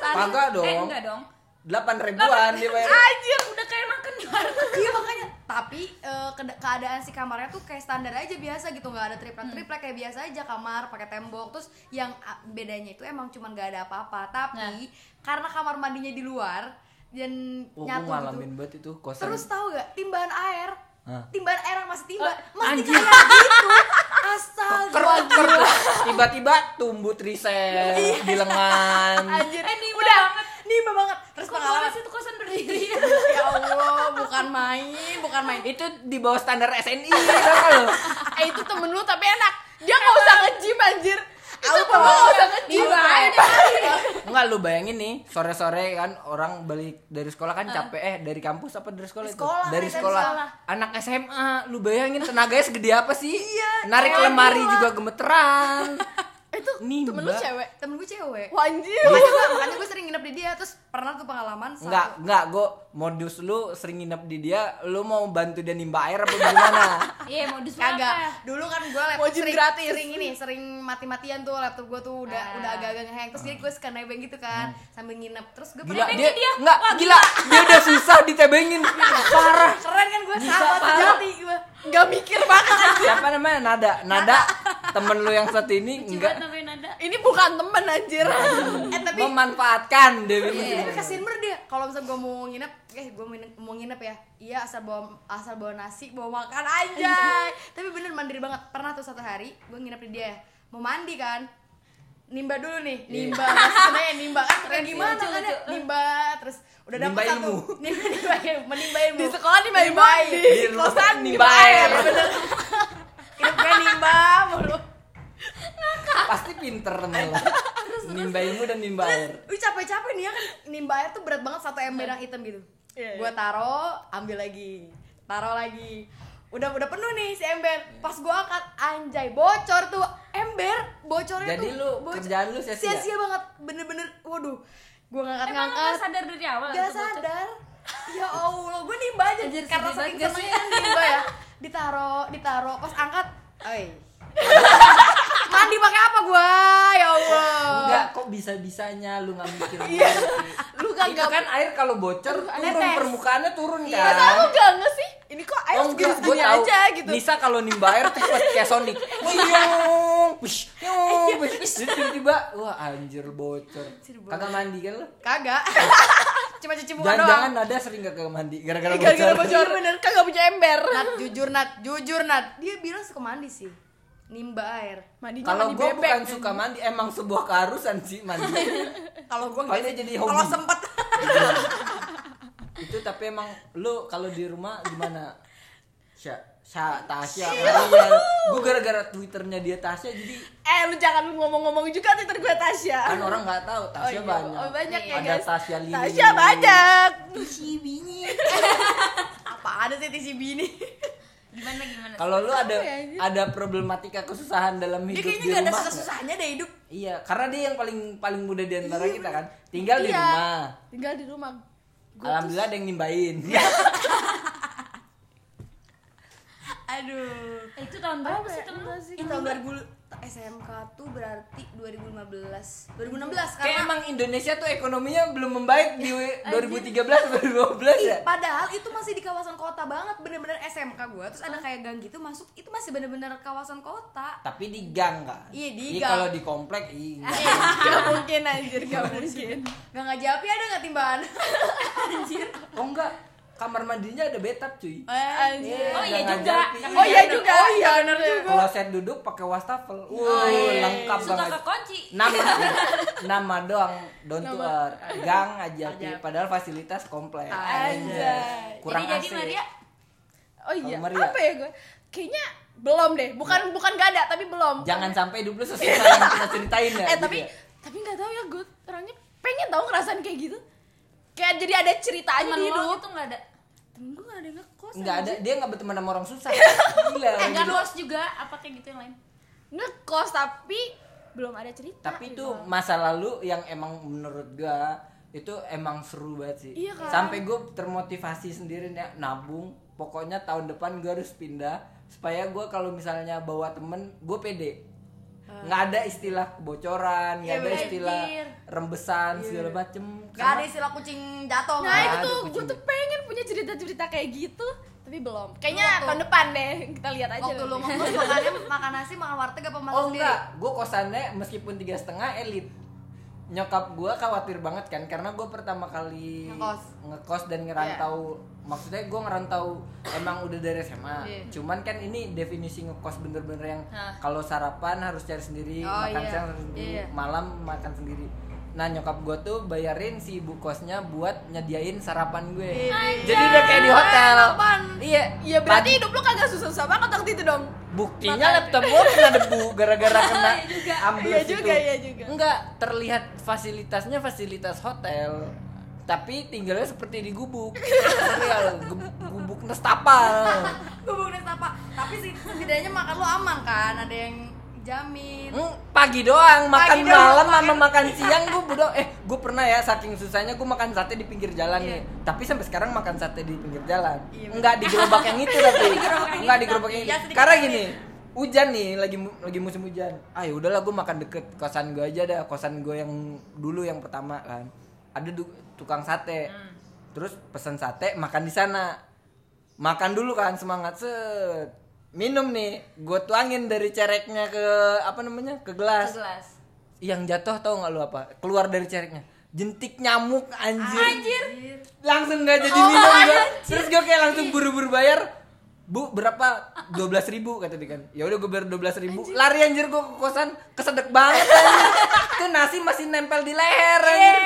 Speaker 1: Kagak Iya, dong.
Speaker 4: Eh enggak dong.
Speaker 1: 8 ribuan dia bayar.
Speaker 4: Anjir, udah kayak makan di warteg.
Speaker 3: Iya makanya. Tapi eh, keda- keadaan si kamarnya tuh kayak standar aja biasa gitu, nggak ada triplek triplek
Speaker 1: Hmm.
Speaker 3: kayak biasa aja kamar pakai tembok. Terus yang ah, bedanya itu emang cuman nggak ada apa-apa.
Speaker 1: Nah.
Speaker 3: Tapi karena kamar mandinya di luar dan
Speaker 1: Oh, gue
Speaker 3: nyatu gitu.
Speaker 1: ngalamin banget itu kosan.
Speaker 3: Terus tahu gak timbahan air?
Speaker 1: Hah?
Speaker 3: Timbahan air yang masih timba, masih
Speaker 1: anjing.
Speaker 3: kayak gitu. Asal
Speaker 1: Ker- ker- tiba-tiba tumbuh triceps di lengan.
Speaker 3: anjir.
Speaker 4: Eh, nimba
Speaker 3: udah
Speaker 4: banget.
Speaker 3: nimba banget. Terus
Speaker 4: Kok
Speaker 3: pengalaman
Speaker 4: sih itu kosan berdiri? <laughs>
Speaker 3: ya Allah, bukan main, bukan main.
Speaker 1: Itu di bawah standar SNI, tau gak lu?
Speaker 2: <laughs> Eh itu temen lu tapi enak. Dia nggak usah nge-gym anjir. Itu
Speaker 3: Aku
Speaker 2: temen lu nggak usah nge-gym. Iya,
Speaker 3: Nimba
Speaker 4: Iya,
Speaker 3: air.
Speaker 4: ya?
Speaker 1: Enggak lu bayangin nih sore-sore kan orang balik dari sekolah kan capek eh dari kampus apa dari sekolah,
Speaker 3: Dari
Speaker 1: itu?
Speaker 3: sekolah,
Speaker 1: dari
Speaker 3: dari
Speaker 1: sekolah.
Speaker 3: sekolah.
Speaker 1: Anak SMA lu bayangin tenaganya segede apa sih?
Speaker 3: Iya,
Speaker 1: Narik
Speaker 3: kayak
Speaker 1: lemari
Speaker 3: gila.
Speaker 1: juga
Speaker 3: <laughs>
Speaker 1: gemeteran.
Speaker 2: Itu
Speaker 1: Nimba.
Speaker 2: temen lu cewek.
Speaker 3: Eh, Temen gue cewek.
Speaker 2: Wah anjir.
Speaker 3: Makanya gue, makanya gue sering nginep di dia terus pernah tuh pengalaman satu-
Speaker 1: Enggak, enggak gua modus lu sering nginep di dia, lu mau bantu dia nimba air apa gimana?
Speaker 4: Iya, modus lu apa?
Speaker 3: Kagak. Dulu kan gue laptop
Speaker 2: Mau gym
Speaker 3: sering,
Speaker 2: gratis.
Speaker 3: sering ini, sering mati-matian tuh laptop gue tuh udah udah agak-agak ngehang. Terus jadi gue suka nebeng gitu kan sambil nginep. Terus gue
Speaker 1: Hmm. Gila
Speaker 4: Nebengin
Speaker 1: dia,
Speaker 4: dia.
Speaker 1: enggak,
Speaker 4: Wah,
Speaker 1: gila. Dia udah susah ditebengin. Parah.
Speaker 3: keren kan gue
Speaker 1: Bisa
Speaker 3: sama
Speaker 1: parah.
Speaker 3: sejati gue.
Speaker 2: Gak mikir banget.
Speaker 1: Siapa namanya? Nada. Nada temen lu yang satu ini
Speaker 4: Coba
Speaker 1: enggak
Speaker 4: namanya nada.
Speaker 2: Ini bukan temen anjir.
Speaker 3: Eh tapi
Speaker 1: memanfaatkan dia bilang.
Speaker 3: Iya, tapi kasihan bener dia. Kalau misalnya gue mau nginep, eh gue mau nginep ya. Iya asal bawa asal bawa nasi, bawa makan aja. tapi bener mandiri banget. Pernah tuh satu hari gue nginep di dia, mau mandi kan. Nimba dulu nih, nimba maksudnya nimba kan kayak gimana
Speaker 4: lucu,
Speaker 3: kan ya?
Speaker 4: lucu.
Speaker 3: Nimba terus udah
Speaker 1: Nimba
Speaker 3: dapat satu.
Speaker 1: ilmu.
Speaker 3: <laughs> Nimba nimba ilmu, menimba ilmu.
Speaker 2: Di sekolah nimba ilmu, di
Speaker 1: rumah
Speaker 2: kosan
Speaker 1: nimba
Speaker 2: nimba
Speaker 1: air.
Speaker 2: air.
Speaker 3: Bener. Hidup gue nimba mulu.
Speaker 1: pasti pinter mulu nimba ilmu dan nimba air
Speaker 3: Wih capek-capek nih ya kan nimba air tuh berat banget satu ember yang hitam gitu.
Speaker 2: Iya, iya.
Speaker 3: Gua taro, ambil lagi. Taro lagi. Udah udah penuh nih si ember. Pas gua angkat anjay bocor tuh ember bocornya
Speaker 1: Jadi
Speaker 3: tuh.
Speaker 1: lu
Speaker 3: bocor-
Speaker 1: kerjaan lu sia-sia?
Speaker 3: banget. Bener-bener waduh. Gua
Speaker 4: Emang lu gak
Speaker 3: ngangkat-ngangkat.
Speaker 4: sadar dari awal?
Speaker 3: Gak
Speaker 4: itu bocor?
Speaker 3: sadar. Ya Allah, gua nimba aja
Speaker 4: Anjir,
Speaker 3: karena
Speaker 4: sedih
Speaker 3: saking
Speaker 4: banget gak sih?
Speaker 3: senengnya nimba ya. Ditaro, ditaro, pas angkat, oi.
Speaker 1: <laughs>
Speaker 3: Mandi pakai apa gua? Ya Allah.
Speaker 1: enggak kok bisa bisanya lu nggak mikir
Speaker 3: Iya.
Speaker 2: <laughs> Lu
Speaker 1: kan
Speaker 2: gak
Speaker 1: itu kan air kalau bocor turun
Speaker 3: netes. Iya,
Speaker 1: permukaannya turun kan
Speaker 2: Masa lu gak nge sih? Ini kok air
Speaker 1: Oh enggak, gue
Speaker 2: segini
Speaker 1: tahu.
Speaker 2: aja gitu.
Speaker 1: Nisa kalau nimba air tuh cepet kayak Sonic. Nyong, push, nyong, push. Terus Tiba-tiba, wah anjir bocor. Kagak mandi kan lu? <laughs>
Speaker 3: Kagak. Cuma cuci muka doang. <laughs>
Speaker 1: Jangan-jangan ada sering gak kagak mandi gara-gara
Speaker 2: Gara-gara
Speaker 1: bocor.
Speaker 2: bocor bener kan gak punya ember.
Speaker 3: Nat, jujur Nat, jujur Nat. Dia bilang suka mandi sih. Nimba air.
Speaker 2: Mandinya
Speaker 1: Kalau
Speaker 2: mandi Iya.
Speaker 1: gue
Speaker 2: bebek.
Speaker 1: bukan suka mandi, emang sebuah keharusan sih
Speaker 2: <laughs>
Speaker 1: mandi.
Speaker 3: Kalau gua
Speaker 1: Kalau dia jadi hobi.
Speaker 3: Kalau sempet. <laughs>
Speaker 1: itu tapi emang lu kalau di rumah gimana Sya Sa Tasya
Speaker 2: Iya.
Speaker 1: Maria. Gue gara-gara Twitternya dia Tasya jadi
Speaker 2: Eh lu jangan ngomong-ngomong juga Twitter gue Tasya.
Speaker 1: kan orang nggak tahu Tasya
Speaker 2: iya.
Speaker 1: banyak.
Speaker 2: Oh, banyak ya,
Speaker 1: Ada
Speaker 2: guys.
Speaker 1: Tasya Lili.
Speaker 2: Tasya banyak.
Speaker 3: <laughs> Apa ada sih TCB ini?
Speaker 4: Gimana gimana?
Speaker 1: Kalau lu ada
Speaker 2: ya, anjir?
Speaker 1: ada problematika kesusahan dalam
Speaker 3: Dia
Speaker 1: hidup
Speaker 3: kayaknya
Speaker 1: di
Speaker 3: gak ada
Speaker 1: rumah.
Speaker 3: susah-susahnya deh hidup.
Speaker 1: Iya, karena dia yang paling paling muda di antara kita kan. Tinggal di
Speaker 2: Iya.
Speaker 1: rumah.
Speaker 2: Tinggal di rumah.
Speaker 1: Alhamdulillah ada yang nimbain.
Speaker 2: Iya,
Speaker 3: Aduh.
Speaker 4: Eh, itu tahun berapa
Speaker 2: ya?
Speaker 4: sih temen lu?
Speaker 3: Itu ya? tahun 2000 SMK tuh berarti 2015. 2016
Speaker 1: <laughs> Kayak
Speaker 3: karena
Speaker 1: emang Indonesia tuh ekonominya belum membaik di
Speaker 2: Iya,
Speaker 1: 2013
Speaker 2: gitu
Speaker 1: 2012 ya.
Speaker 3: Padahal itu masih di kawasan kota banget, bener-bener SMK gua Terus ada kayak gang gitu masuk, itu masih bener-bener kawasan kota.
Speaker 1: Tapi di gang kan.
Speaker 3: Iya,
Speaker 1: Iya,
Speaker 3: di gang.
Speaker 1: Kalau di komplek iya.
Speaker 2: Eh,
Speaker 3: <laughs>
Speaker 2: Gak mungkin anjir, gak mungkin.
Speaker 3: Gak ngajapi ada nggak timbaan?
Speaker 1: Oh enggak, kamar mandinya ada bathtub cuy.
Speaker 2: <laughs> Anjir.
Speaker 3: Eh,
Speaker 4: Oh iya
Speaker 1: Jangan
Speaker 4: juga.
Speaker 1: jadi.
Speaker 2: Oh iya juga. Oh iya bener juga.
Speaker 1: Kalau set duduk pakai wastafel. Wuh, lengkap
Speaker 4: Suka
Speaker 1: banget.
Speaker 4: kekunci.
Speaker 1: Nama iya. nama doang don't to earth. Gang aja cuy. padahal fasilitas komplek. Iya.
Speaker 2: Aja.
Speaker 1: Kurang
Speaker 4: jadi jadi
Speaker 1: AC.
Speaker 4: Maria
Speaker 2: Oh iya.
Speaker 1: Kalau Maria.
Speaker 2: Apa ya gue? Kayaknya belum deh. Bukan bukan gak ada, tapi belum.
Speaker 1: Jangan sampai hidup lu sesusah yang kita ceritain ya.
Speaker 3: <laughs> Iya.
Speaker 2: eh
Speaker 1: gitu
Speaker 2: tapi
Speaker 1: ya.
Speaker 2: tapi nggak tahu ya gue orangnya pengen tahu ngerasain kayak gitu kayak jadi ada ceritanya
Speaker 4: temen
Speaker 2: di
Speaker 4: lu
Speaker 2: hidup
Speaker 4: itu nggak ada.
Speaker 2: temen gue gak ada yang ngekos
Speaker 1: Enggak ada,
Speaker 2: anjir.
Speaker 1: dia enggak berteman sama orang susah. Gila.
Speaker 4: Eh
Speaker 1: orang
Speaker 4: nggak
Speaker 1: gitu.
Speaker 4: luas juga apa kayak gitu yang lain?
Speaker 2: ngekos tapi belum ada cerita
Speaker 1: tapi itu masa lalu yang emang menurut gua itu emang seru banget sih
Speaker 2: Iya kan?
Speaker 1: sampai gue termotivasi sendiri ya nabung pokoknya tahun depan gue harus pindah supaya gua kalau misalnya bawa temen gue pede nggak ada istilah kebocoran nggak ada
Speaker 4: bener.
Speaker 1: istilah
Speaker 4: Anjir.
Speaker 1: rembesan segala macem
Speaker 3: Gak ada istilah kucing jatuh nggak?
Speaker 2: nah itu
Speaker 1: ada
Speaker 2: tuh gue
Speaker 1: kucing.
Speaker 2: tuh pengen punya cerita cerita kayak gitu tapi belum kayaknya
Speaker 3: Waktu-
Speaker 2: tahun depan deh kita lihat aja
Speaker 3: Waktu lu
Speaker 2: nanti.
Speaker 3: ngekos makannya makan nasi, makan warteg apa masak
Speaker 1: oh
Speaker 3: sendiri?
Speaker 1: enggak gue kosannya meskipun tiga setengah elit nyokap gue khawatir banget kan karena gue pertama kali
Speaker 3: Ngekos. Iya.
Speaker 1: ngekos dan ngerantau maksudnya gue ngerantau emang udah dari SMA
Speaker 3: Iya.
Speaker 1: cuman kan ini definisi ngekos bener-bener yang
Speaker 4: Hah.
Speaker 1: kalau sarapan harus cari sendiri
Speaker 3: Oh,
Speaker 1: makan
Speaker 3: iya.
Speaker 1: siang harus sendiri
Speaker 3: Iya.
Speaker 1: malam makan sendiri nah nyokap gue tuh bayarin si ibu kosnya buat nyediain sarapan gue
Speaker 3: Iya.
Speaker 1: jadi udah kayak di hotel iya
Speaker 2: ya berarti hidup lu kagak susah susah banget waktu itu
Speaker 3: <laughs>
Speaker 2: dong
Speaker 1: buktinya laptop gua kena debu
Speaker 2: <laughs>
Speaker 1: gara-gara kena ambil
Speaker 2: Iya juga, iya juga.
Speaker 1: enggak terlihat fasilitasnya fasilitas hotel tapi tinggalnya seperti di
Speaker 2: <laughs>
Speaker 1: gubuk real ge- gubuk nestapal
Speaker 3: Bubuk apa? Tapi sih setidaknya makan lu aman kan, ada yang jamin.
Speaker 1: Hmm, pagi doang makan
Speaker 3: Pagi doang,
Speaker 1: malam sama makan siang gue bodoh eh gue pernah ya saking susahnya gue makan sate di pinggir jalan nih tapi sampai sekarang makan sate di pinggir jalan nggak di gerobak yang itu tapi nggak Iya, <laughs> di gerobak yang itu Iya,
Speaker 3: Ya, sedikit
Speaker 1: karena gini hujan nih lagi mu- lagi musim hujan ah ya udahlah gue makan deket kosan gue aja dah kosan gue yang dulu yang pertama kan ada du- tukang sate terus pesan sate makan di sana makan dulu kan semangat set minum nih gue tuangin dari cereknya ke apa namanya ke gelas
Speaker 4: Jelas.
Speaker 1: yang jatuh tau nggak lu apa keluar dari cereknya jentik nyamuk anjir, Oh, langsung nggak jadi minum gua. terus gue kayak langsung buru-buru bayar bu berapa 12.000 ribu kata dia kan ya udah gue bayar 12.000 ribu lari anjir gue ke kosan kesedek banget anjir itu nasi masih nempel di leher anjir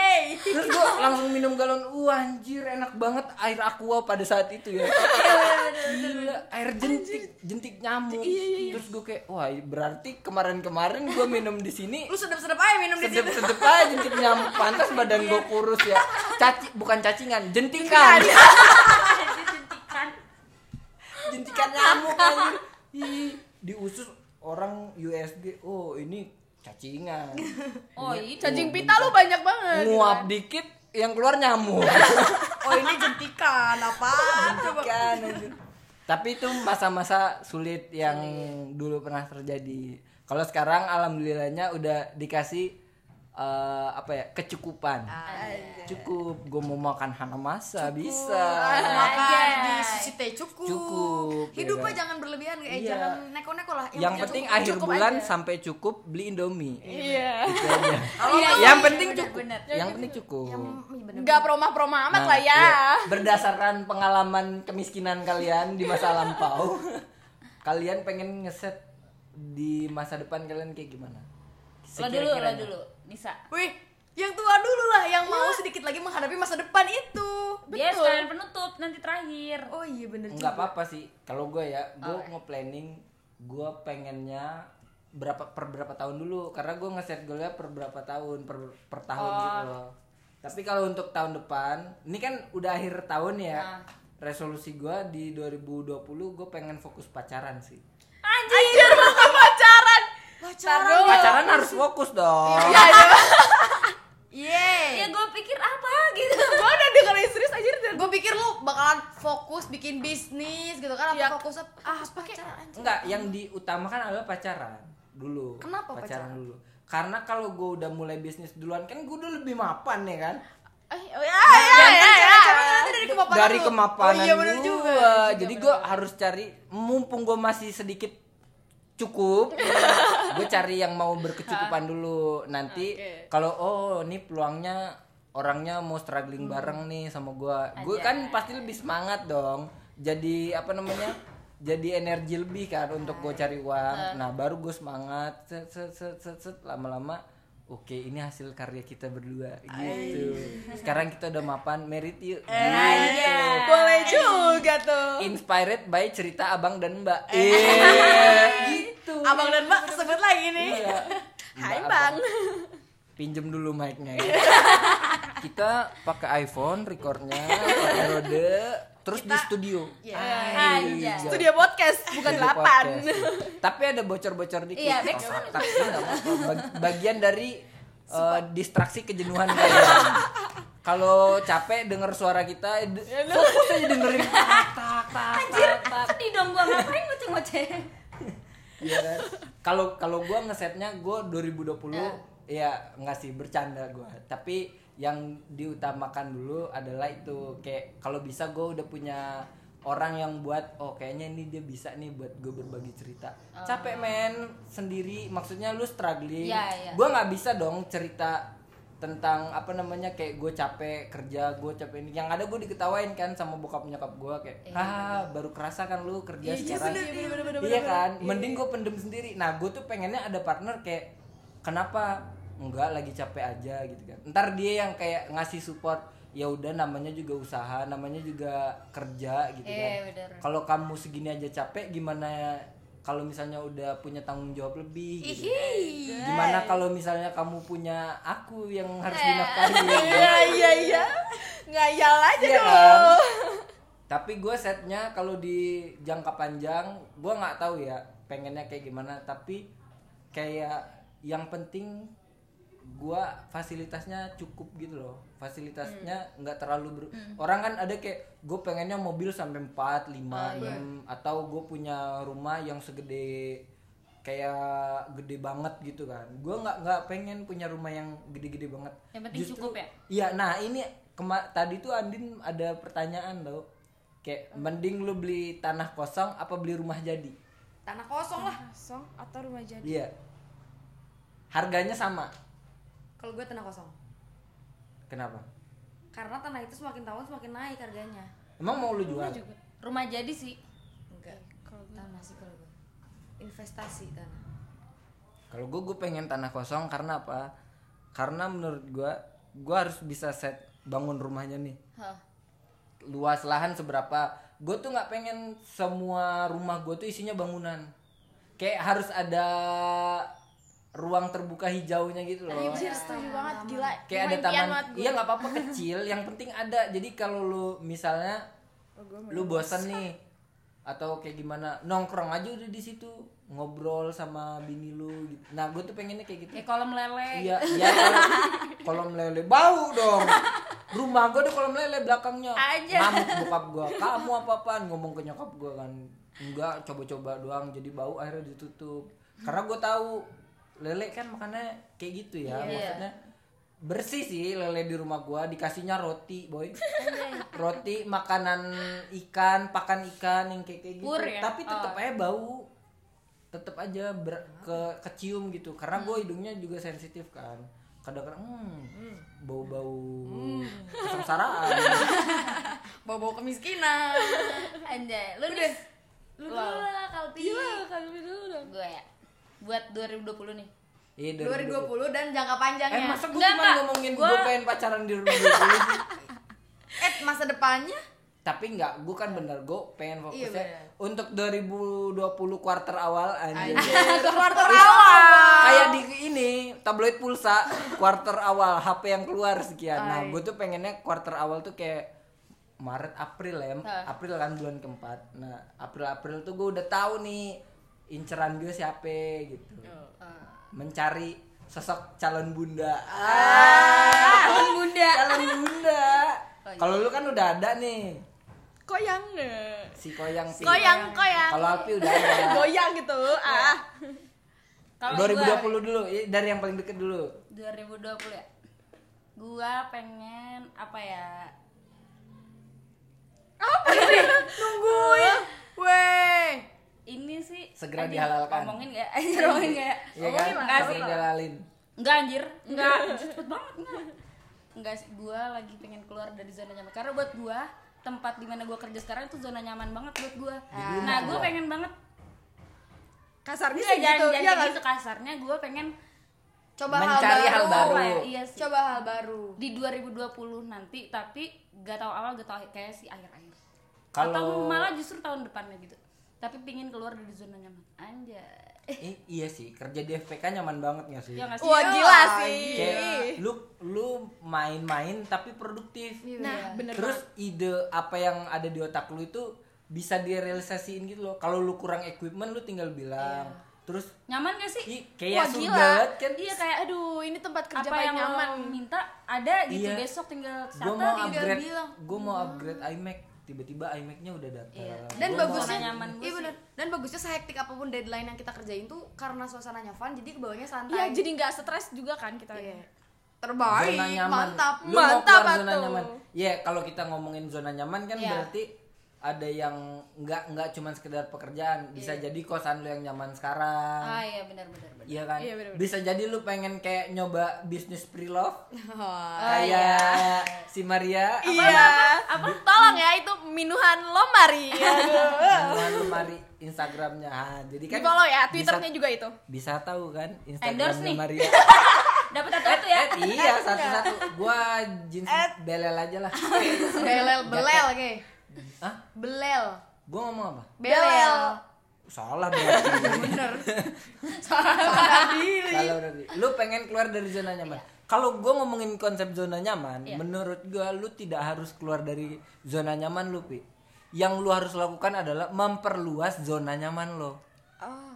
Speaker 1: terus gue langsung minum galon wah anjir enak banget air aqua pada saat itu ya Gila, air jentik jentik nyamuk terus gue kayak wah berarti kemarin-kemarin gue minum di sini
Speaker 3: Lu sedep-sedep aja minum Kan di situ.
Speaker 1: sedep-sedep aja jentik nyamuk pantas badan gue kurus ya caci bukan cacingan jentikan
Speaker 4: Jentikan.
Speaker 1: <laughs> jentikan nyamuk anjir Ih, di usus orang USG oh ini
Speaker 3: <laughs>
Speaker 1: cacingan
Speaker 4: Oh Iya, itu.
Speaker 2: cacing pita lu banyak banget gitu
Speaker 1: nguap
Speaker 2: kan.
Speaker 1: dikit yang keluar nyamuk <laughs>
Speaker 3: Oh ini jentikan apaan coba?
Speaker 1: Jentikan, anjir. tapi itu masa-masa sulit yang dulu pernah terjadi kalau sekarang alhamdulillahnya udah dikasih eh, apa ya kecukupan
Speaker 3: Ah, iya.
Speaker 1: cukup gue mau makan hanamasa bisa
Speaker 3: Makan di sushi teh cukup.
Speaker 1: Cukup, ya
Speaker 3: Hidupnya
Speaker 1: kan?
Speaker 3: jangan berlebihan, eh
Speaker 1: Iya.
Speaker 3: jangan neko-neko lah.
Speaker 1: yang penting akhir
Speaker 3: cukup
Speaker 1: bulan
Speaker 3: aja.
Speaker 1: sampai cukup beli indomie
Speaker 2: iya
Speaker 1: Itu aja.
Speaker 4: Iya,
Speaker 1: yang
Speaker 4: iya,
Speaker 1: penting
Speaker 4: bener,
Speaker 1: cukup
Speaker 4: bener.
Speaker 1: yang penting cukup
Speaker 2: nggak promah-promah amat
Speaker 1: Nah,
Speaker 2: lah ya
Speaker 1: iya. berdasarkan pengalaman kemiskinan kalian di masa lampau <laughs> kalian pengen ngeset di masa depan kalian kayak gimana
Speaker 4: Lo dulu, lo dulu. Bisa.
Speaker 3: Wih, yang tua dulu lah yang mau sedikit lagi menghadapi masa depan itu
Speaker 4: Dia sekalian penutup nanti terakhir.
Speaker 3: oh iya bener
Speaker 1: nggak
Speaker 3: juga.
Speaker 1: apa-apa sih kalau gue ya gue nge-planning gue pengennya berapa per berapa tahun dulu karena gue ngeset goalnya per berapa tahun per per tahun
Speaker 3: Oh.
Speaker 1: gitu loh tapi kalau untuk tahun depan ini kan udah akhir tahun ya
Speaker 3: Nah.
Speaker 1: resolusi gue di 2020 gue pengen fokus pacaran sih
Speaker 4: Anjir.
Speaker 2: pacaran
Speaker 3: pacaran
Speaker 2: Taruh.
Speaker 1: pacaran harus fokus dong
Speaker 3: Iya, yeay
Speaker 4: Ya gue pikir apa
Speaker 2: <laughs>
Speaker 4: gitu.
Speaker 2: gue udah dengerin serius aja dan
Speaker 3: gue pikir lu bakalan fokus bikin bisnis gitu kan apa
Speaker 2: Iya.
Speaker 3: fokus apa ah pacaran anjing.
Speaker 1: Enggak, yang diutamakan adalah pacaran dulu.
Speaker 3: Kenapa pacaran?
Speaker 1: dulu? Karena kalau gue udah mulai bisnis duluan kan gue udah lebih mapan ya kan.
Speaker 2: eh, oh, ya, ya,
Speaker 3: Kan
Speaker 2: ya, ya,
Speaker 3: cara-cara nanti dari kemapanan
Speaker 1: Dari
Speaker 3: lu.
Speaker 1: kemapanan
Speaker 3: oh, iya bener
Speaker 1: gua.
Speaker 3: juga
Speaker 1: Jadi gue harus cari mumpung gue masih sedikit
Speaker 3: <laughs>
Speaker 1: cukup, gue cari yang mau berkecukupan dulu.
Speaker 3: Ah,
Speaker 1: Nanti kalau oh ini peluangnya orangnya mau
Speaker 3: Hmm.
Speaker 1: struggling bareng nih sama gue, gue kan pasti lebih semangat dong. Jadi apa namanya? Jadi energi lebih kan untuk gue cari uang. Nah baru gue semangat, set set set set, set. lama-lama. Oke, ini hasil karya kita berdua gitu. Sekarang kita udah mapan, merit yuk.
Speaker 3: Eh, iya.
Speaker 1: Gitu.
Speaker 2: boleh juga tuh
Speaker 1: Inspired by cerita abang dan mbak.
Speaker 2: Iya.
Speaker 1: Eh, <laughs> gitu.
Speaker 3: abang dan mbak sebut lagi nih
Speaker 1: Iya.
Speaker 2: Hai
Speaker 1: Mbak,
Speaker 2: bang
Speaker 1: Pinjem dulu mic-nya ya. Kita pakai iPhone recordnya, pakai rode, terus di studio. Iya.
Speaker 2: studio podcast bukan
Speaker 1: Studio
Speaker 3: Iya,
Speaker 2: delapan
Speaker 1: podcast. Tapi ada bocor-bocor dikit.
Speaker 4: Iya, backsound.
Speaker 1: Oh, tapi nggak apa-apa. Bag- Bagian dari eh, distraksi kejenuhan kalian. Kalau capek denger suara kita, de- fokus aja dengerin. Tak, tak,
Speaker 4: Anjir, sedih dong gue ngapain ngoceh-ngoceh.
Speaker 1: Iya kan? Kalau kalau gua ngesetnya gua 2020
Speaker 4: Eh.
Speaker 1: ya enggak sih bercanda gua. Tapi yang diutamakan dulu adalah itu kayak kalau bisa gua udah punya orang yang buat oh kayaknya ini dia bisa nih buat gue berbagi cerita
Speaker 4: Oh.
Speaker 1: capek men sendiri maksudnya lu struggling
Speaker 4: Iya, iya.
Speaker 1: gua nggak bisa dong cerita tentang apa namanya kayak gue capek kerja gue capek ini yang ada gue diketawain kan sama bokap nyokap gue kayak ah baru kerasa kan lu kerja sekarang iya kan mending gue pendem sendiri nah gue tuh pengennya ada partner kayak kenapa enggak lagi capek aja gitu kan ntar dia yang kayak ngasih support ya udah namanya juga usaha namanya juga kerja gitu
Speaker 4: Iya,
Speaker 1: kan
Speaker 4: bener.
Speaker 1: kalau kamu segini aja capek gimana kalau misalnya udah punya tanggung jawab lebih gitu. gimana kalau misalnya kamu punya aku yang harus dinafkahi gitu.
Speaker 2: iya iya iya ngayal aja
Speaker 1: Iya
Speaker 4: <laughs>
Speaker 1: kan?
Speaker 2: dong
Speaker 1: Tapi gue setnya kalau di jangka panjang, gue nggak tahu ya pengennya kayak gimana. Tapi kayak yang penting gue fasilitasnya cukup gitu loh. Fasilitasnya
Speaker 4: Hmm.
Speaker 1: nggak terlalu ber- orang kan ada kayak gue pengennya mobil sampai 4, 5,
Speaker 4: Oh, iya.
Speaker 1: 6 atau gue punya rumah yang segede kayak gede banget gitu kan. Gue nggak nggak pengen punya rumah yang gede-gede banget.
Speaker 4: Yang penting cukup ya?
Speaker 1: Iya, nah ini kema- tadi tuh Andin ada pertanyaan loh. Kayak mending lu beli tanah kosong apa beli rumah jadi?
Speaker 3: tanah kosong lah
Speaker 2: kosong atau rumah jadi
Speaker 1: Iya. Harganya sama.
Speaker 3: kalau gue tanah kosong
Speaker 1: Kenapa?
Speaker 3: karena tanah itu semakin tahun semakin naik harganya
Speaker 1: Emang mau lu jual?
Speaker 4: Rumah jadi sih.
Speaker 3: enggak
Speaker 2: Iya,
Speaker 3: tanah sih kalau gue investasi tanah
Speaker 1: Kalau gue gue pengen tanah kosong karena apa? Karena menurut gue gue harus bisa set bangun rumahnya nih.
Speaker 4: Hah.
Speaker 1: Luas lahan seberapa? Gue tuh nggak pengen semua rumah gue tuh isinya bangunan. Kayak harus ada ruang terbuka hijaunya gitu loh.
Speaker 2: Anjir, setuju banget, gila
Speaker 1: kayak ada taman iya nggak apa-apa kecil yang penting ada jadi kalau lu misalnya lu bosan nih atau kayak gimana nongkrong aja udah di situ ngobrol sama bini lu gitu. nah gue tuh pengennya kayak gitu
Speaker 4: Kayak kolam lele.
Speaker 1: iya iya kolam, kolam lele bau dong rumah gue ada kolam lele belakangnya
Speaker 4: Aja.
Speaker 1: ngamuk bokap gue kamu apa apaan ngomong ke nyokap gue kan enggak coba-coba doang jadi bau akhirnya ditutup karena gue tahu lele kan makannya kayak gitu ya maksudnya bersih sih lele di rumah gua dikasihnya roti boy roti makanan ikan pakan ikan yang kayak kayak gitu
Speaker 4: Pur ya?
Speaker 1: tapi tetep aja bau tetep aja ber- ke kecium gitu karena
Speaker 4: Hmm.
Speaker 1: gue hidungnya juga sensitif kan kadang-kadang hmm, bau-bau
Speaker 4: Hmm. <laughs>
Speaker 1: kesengsaraan
Speaker 3: bawa-bawa
Speaker 2: <laughs>
Speaker 3: kemiskinan
Speaker 4: Anjay, lu udah. Lu dulu lah Kalpi. Iya, Kalpi dulu Gue ya. Buat 2020 nih.
Speaker 1: Iya, 2020.
Speaker 3: 2020 dan jangka panjangnya.
Speaker 1: Eh masa gue
Speaker 4: ya? Enggak,
Speaker 1: cuma
Speaker 4: Kak.
Speaker 1: ngomongin
Speaker 4: Gua-
Speaker 1: gue pengen pacaran di 2020 sih
Speaker 3: Eh, masa depannya?
Speaker 1: Tapi enggak, gue kan bener, gue pengen
Speaker 3: Iya,
Speaker 1: fokusnya
Speaker 3: bener.
Speaker 1: Untuk 2020 kuarter awal anjir <laughs>
Speaker 3: Keluar terawal.
Speaker 1: Kayak di ini, tabloid pulsa Kuarter awal, HP yang keluar sekian Nah
Speaker 3: Ay.
Speaker 1: gue tuh pengennya kuarter awal tuh kayak Maret, April ya April kan bulan keempat Nah April-April tuh gue udah tahu nih Inceran gue siapa gitu Mencari sosok calon bunda ah, Calon bunda Calon bunda Kalau lu kan udah ada nih
Speaker 2: Koyang.
Speaker 1: si koyang
Speaker 3: Iya.
Speaker 1: sih
Speaker 2: Koyang, koyang.
Speaker 1: kalau Alpi udah ada
Speaker 2: Goyang gitu. Ah.
Speaker 4: Kalau gua
Speaker 1: 2020 dulu i- dari yang paling deket dulu
Speaker 4: 2020 ya. Gua pengen apa ya?
Speaker 3: Nungguin. Iya. Weh.
Speaker 4: Ini sih
Speaker 1: Segera
Speaker 4: anjing,
Speaker 1: dihalalkan.
Speaker 4: Ngomongin gak? Anjir, <laughs> ngomongin gak? ya?
Speaker 1: Iya kan
Speaker 4: Enggak
Speaker 1: Oke,
Speaker 4: sih.
Speaker 1: jalalin
Speaker 4: Enggak anjir, enggak <laughs> cepet banget enggak. Enggak sih, gua lagi pengen keluar dari zona nyaman. Karena buat gua tempat dimana gua kerja sekarang itu zona nyaman banget buat gua. Nah, gua pengen banget
Speaker 2: Kasarnya
Speaker 4: Enggak,
Speaker 2: sih
Speaker 4: jangan,
Speaker 2: gitu.
Speaker 4: jangan
Speaker 2: Iya
Speaker 4: kayak
Speaker 2: nggak
Speaker 4: gitu kasarnya gua pengen
Speaker 3: Coba
Speaker 1: Mencari hal
Speaker 3: hal baru.
Speaker 1: baru.
Speaker 4: apa ya? Iya sih.
Speaker 3: Coba hal baru.
Speaker 4: di 2020 nanti tapi gak tahu awal gak tahu akhir kayak si akhir akhir
Speaker 1: Kalau-
Speaker 4: atau malah justru tahun depannya gitu tapi pingin keluar dari zona nyaman anjay
Speaker 1: I- iya sih kerja di FPK nyaman banget gak sih
Speaker 4: ya gak sih
Speaker 2: Wah gila
Speaker 3: Iya.
Speaker 2: sih.
Speaker 1: kayak lu lu main-main tapi produktif
Speaker 2: Nah, bener
Speaker 1: terus ide apa yang ada di otak lu itu bisa direalisasiin gitu loh kalau lu kurang equipment lu tinggal bilang terus
Speaker 4: nyaman gak sih
Speaker 1: i, kayak
Speaker 2: Wah,
Speaker 1: surga
Speaker 2: gila.
Speaker 1: banget kan
Speaker 4: iya kayak aduh
Speaker 2: Aduh, ini tempat kerja
Speaker 4: apa
Speaker 2: paling
Speaker 4: yang
Speaker 2: nyaman.
Speaker 4: lo minta ada gitu
Speaker 1: Iya.
Speaker 4: besok tinggal
Speaker 1: gue
Speaker 4: satu
Speaker 1: mau
Speaker 4: tinggal
Speaker 1: upgrade
Speaker 4: bilang
Speaker 1: gue mau upgrade iMac tiba-tiba iMac-nya udah datang
Speaker 3: Dan
Speaker 1: Gua mau-
Speaker 3: bagusnya,
Speaker 4: zona nyaman gua
Speaker 3: iya
Speaker 4: sih.
Speaker 3: bener. Dan bagusnya sehektik apapun deadline yang kita kerjain tuh karena suasananya fun, jadi kebawahnya santai.
Speaker 2: Iya, jadi
Speaker 4: gitu.
Speaker 2: nggak stres juga kan kita.
Speaker 3: Iya. Terbaik,
Speaker 1: zona nyaman.
Speaker 3: mantap,
Speaker 1: Lu mau
Speaker 3: mantap
Speaker 1: keluar zona
Speaker 3: atuh.
Speaker 1: nyaman. Ya, kalau kita ngomongin zona nyaman kan
Speaker 3: Iya.
Speaker 1: berarti ada yang nggak nggak cuman sekedar pekerjaan, bisa jadi kosan lu yang nyaman sekarang.
Speaker 4: ah iya benar benar benar
Speaker 1: Iya kan?
Speaker 2: Iya, bener-bener.
Speaker 1: Bisa jadi lu pengen kayak nyoba bisnis pre-love
Speaker 3: Wah.
Speaker 1: kayak si Maria apa
Speaker 2: Iya. Apa? Tolong ya itu minuhan lo Mari. Aduh.
Speaker 1: Dengan lu Mari Instagramnya. Ah, jadi
Speaker 2: Di
Speaker 1: kan
Speaker 2: follow
Speaker 1: bisa-
Speaker 2: ya, Twitternya juga itu.
Speaker 1: Bisa tahu kan
Speaker 4: Endorse
Speaker 1: Instagramnya
Speaker 4: nih.
Speaker 1: Maria.
Speaker 4: dapat satu satu ya
Speaker 1: Eh, <laughs> iya, satu-satu. Gua jeans belel aja <laughs> lah.
Speaker 3: Belel, belel, oke.
Speaker 1: Hah?
Speaker 3: Belel,
Speaker 1: Gua ngomong apa?
Speaker 3: belel.
Speaker 1: Salah berarti. <laughs>
Speaker 3: Bener.
Speaker 1: Kalau dari lu pengen keluar dari zona nyaman. Kalau gue ngomongin konsep zona nyaman, menurut gue lu tidak harus keluar dari zona nyaman lu, Pi. Yang lu harus lakukan adalah memperluas zona nyaman lo.
Speaker 3: Oh.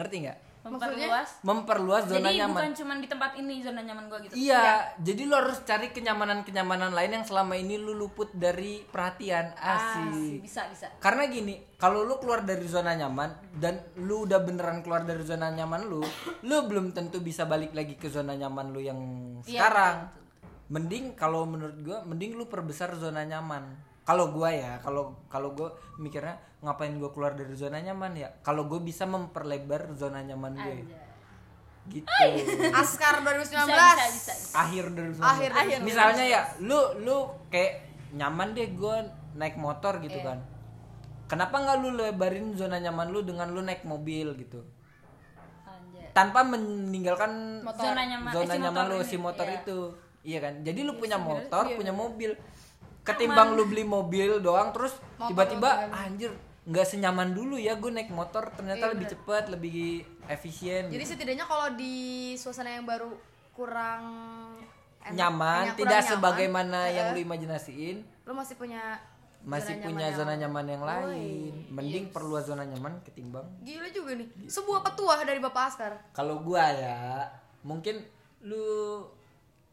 Speaker 1: Ngerti nggak?
Speaker 4: memperluas
Speaker 1: Memperluas zona
Speaker 4: jadi
Speaker 1: nyaman.
Speaker 4: bukan cuma di tempat ini zona nyaman gua gitu
Speaker 1: Iya, jadi lu harus cari kenyamanan-kenyamanan lain yang selama ini lu luput dari perhatian. Asik.
Speaker 4: bisa bisa
Speaker 1: Karena gini, kalau lu keluar dari zona nyaman dan lu udah beneran keluar dari zona nyaman lu, lu belum tentu bisa balik lagi ke zona nyaman lu yang sekarang. Mending kalau menurut gua mending lu perbesar zona nyaman. Kalau gua ya, kalau kalau gua mikirnya ngapain gua keluar dari zona nyaman ya? Kalau gua bisa memperlebar zona nyaman gue. Gitu.
Speaker 3: Askar
Speaker 4: bisa
Speaker 3: 2019.
Speaker 4: bisa bisa
Speaker 1: Akhir dari
Speaker 3: Akhir dari
Speaker 1: Misalnya ya, lu lu kayak nyaman deh gua naik motor gitu
Speaker 4: Iya.
Speaker 1: kan. Kenapa nggak lu lebarin zona nyaman lu dengan lu naik mobil gitu?
Speaker 4: Anjay.
Speaker 1: Tanpa meninggalkan
Speaker 4: Zona nyaman, eh,
Speaker 1: zona
Speaker 4: si
Speaker 1: nyaman
Speaker 4: motor
Speaker 1: lu
Speaker 4: ini,
Speaker 1: si motor
Speaker 4: iya.
Speaker 1: itu. Iya kan? Jadi lu punya motor, punya mobil. Ketimbang lu beli mobil doang terus tiba-tiba anjir nggak senyaman dulu ya gue naik motor
Speaker 4: Iya,
Speaker 1: ternyata lebih cepat, lebih efisien.
Speaker 3: Jadi
Speaker 1: gitu.
Speaker 3: setidaknya kalau di suasana yang baru kurang enak,
Speaker 1: nyaman,
Speaker 3: kurang
Speaker 1: tidak
Speaker 3: nyaman, eh,
Speaker 1: sebagaimana yang lu imajinasiin.
Speaker 3: Lu masih punya
Speaker 1: masih punya zona nyaman yang lain. Mending perluas zona nyaman ketimbang.
Speaker 3: gila juga nih. Sebuah petuah dari Bapak Askar.
Speaker 1: Kalau gua ya, mungkin lu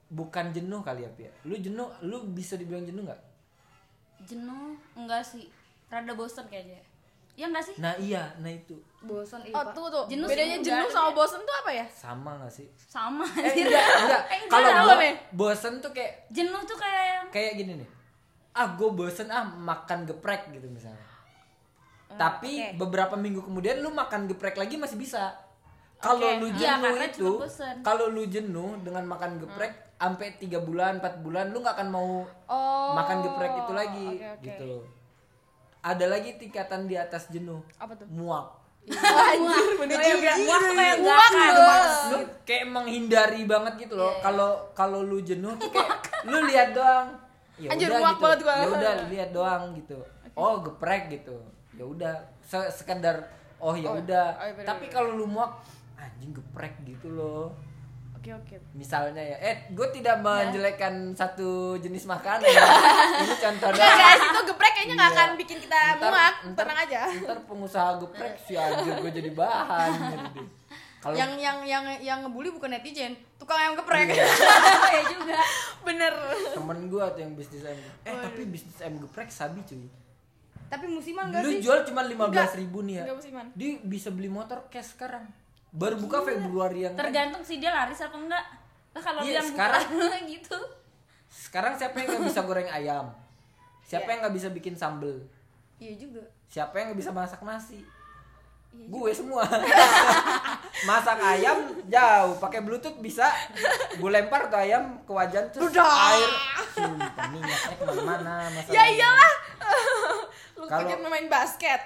Speaker 1: bukan jenuh kali ya, Pia. Lu jenuh, lu bisa dibilang jenuh nggak?
Speaker 4: jenuh enggak sih rada bosen kayaknya ya enggak sih
Speaker 1: Nah iya, nah itu
Speaker 3: Bosan iya,
Speaker 2: Oh,
Speaker 3: Pak.
Speaker 2: tunggu tuh.
Speaker 4: Jenuh sih
Speaker 2: Bedanya
Speaker 4: enggak,
Speaker 2: jenuh
Speaker 4: tapi
Speaker 2: sama bosen tuh apa ya?
Speaker 1: sama nggak sih?
Speaker 4: sama
Speaker 1: Eh,
Speaker 4: anjir.
Speaker 1: enggak, enggak.
Speaker 4: Eh, enggak
Speaker 1: Kalau
Speaker 4: tahu
Speaker 1: gua
Speaker 4: deh.
Speaker 1: bosen tuh kayak
Speaker 4: <laughs> jenuh tuh kayak yang
Speaker 1: kayak gini nih. Ah, gua bosen ah makan geprek gitu misalnya.
Speaker 4: Oh,
Speaker 1: Tapi beberapa minggu kemudian lu makan geprek lagi masih bisa. Kalau lu
Speaker 4: Iya,
Speaker 1: jenuh
Speaker 4: karena
Speaker 1: itu,
Speaker 4: cuma bosen. Hmm.
Speaker 1: kalau lu jenuh dengan makan geprek sampai tiga bulan, 4 bulan lu nggak akan mau
Speaker 4: Oh,
Speaker 1: makan geprek itu lagi gitu loh. Ada lagi tingkatan di atas jenuh.
Speaker 2: Apa tuh?
Speaker 1: Muak.
Speaker 4: Anjir, bener juga. Wah, kayak enggak kan.
Speaker 1: lu kayak menghindari banget gitu
Speaker 2: Iya,
Speaker 1: loh. Kalau kalau lu jenuh tuh kayak lu lihat doang. Ya
Speaker 2: Anjir,
Speaker 1: udah
Speaker 2: muak
Speaker 1: gitu.
Speaker 2: banget gua.
Speaker 1: Ya udah lihat doang gitu. Oh, geprek gitu. Ya udah se- sekedar oh ya udah.
Speaker 2: oh, iya bener,
Speaker 1: Tapi kalau lu muak anjing geprek gitu loh.
Speaker 2: Oke oke.
Speaker 1: Misalnya ya, eh gue tidak
Speaker 2: Nah.
Speaker 1: menjelekkan satu jenis
Speaker 2: <laughs>
Speaker 1: makanan. Ini contohnya.
Speaker 2: Enggak guys, itu geprek kayaknya nggak
Speaker 1: Iya.
Speaker 2: akan bikin kita
Speaker 1: Ntar-
Speaker 2: muak,
Speaker 1: ntar-
Speaker 2: tenang aja.
Speaker 1: Ntar pengusaha geprek sih anjir gue jadi bahan. gitu. Kalau
Speaker 3: yang yang yang yang ngebully bukan netizen tukang ayam geprek
Speaker 4: Iya juga.
Speaker 2: <laughs> Bener.
Speaker 1: temen gue tuh yang bisnis ayam geprek.
Speaker 2: Oh,
Speaker 1: Eh tapi
Speaker 2: iya.
Speaker 1: bisnis ayam geprek sabi cuy.
Speaker 3: tapi musiman gak
Speaker 1: Lu
Speaker 3: sih
Speaker 1: jual cuma lima belas ribu nih ya.
Speaker 2: Enggak musiman.
Speaker 1: Dia bisa beli motor cash sekarang. Baru
Speaker 2: Iya.
Speaker 1: buka Februari yang
Speaker 4: Tergantung sih dia laris apa enggak. Lah kalau
Speaker 1: Iya,
Speaker 4: yang
Speaker 1: sekarang.
Speaker 4: bukan <laughs> gitu.
Speaker 1: sekarang siapa yang nggak bisa goreng ayam? Siapa
Speaker 2: Iya.
Speaker 1: yang nggak bisa bikin sambel?
Speaker 3: iya juga
Speaker 1: Siapa yang nggak bisa masak nasi?
Speaker 2: Iya
Speaker 1: gue semua <laughs> masak ayam jauh pakai bluetooth bisa gue lempar tuh ayam ke wajan terus air Sumpah, minyaknya kemana-mana masalahnya
Speaker 2: Ya iyalah. <laughs> Lu
Speaker 1: Kalau-
Speaker 2: pikir main basket.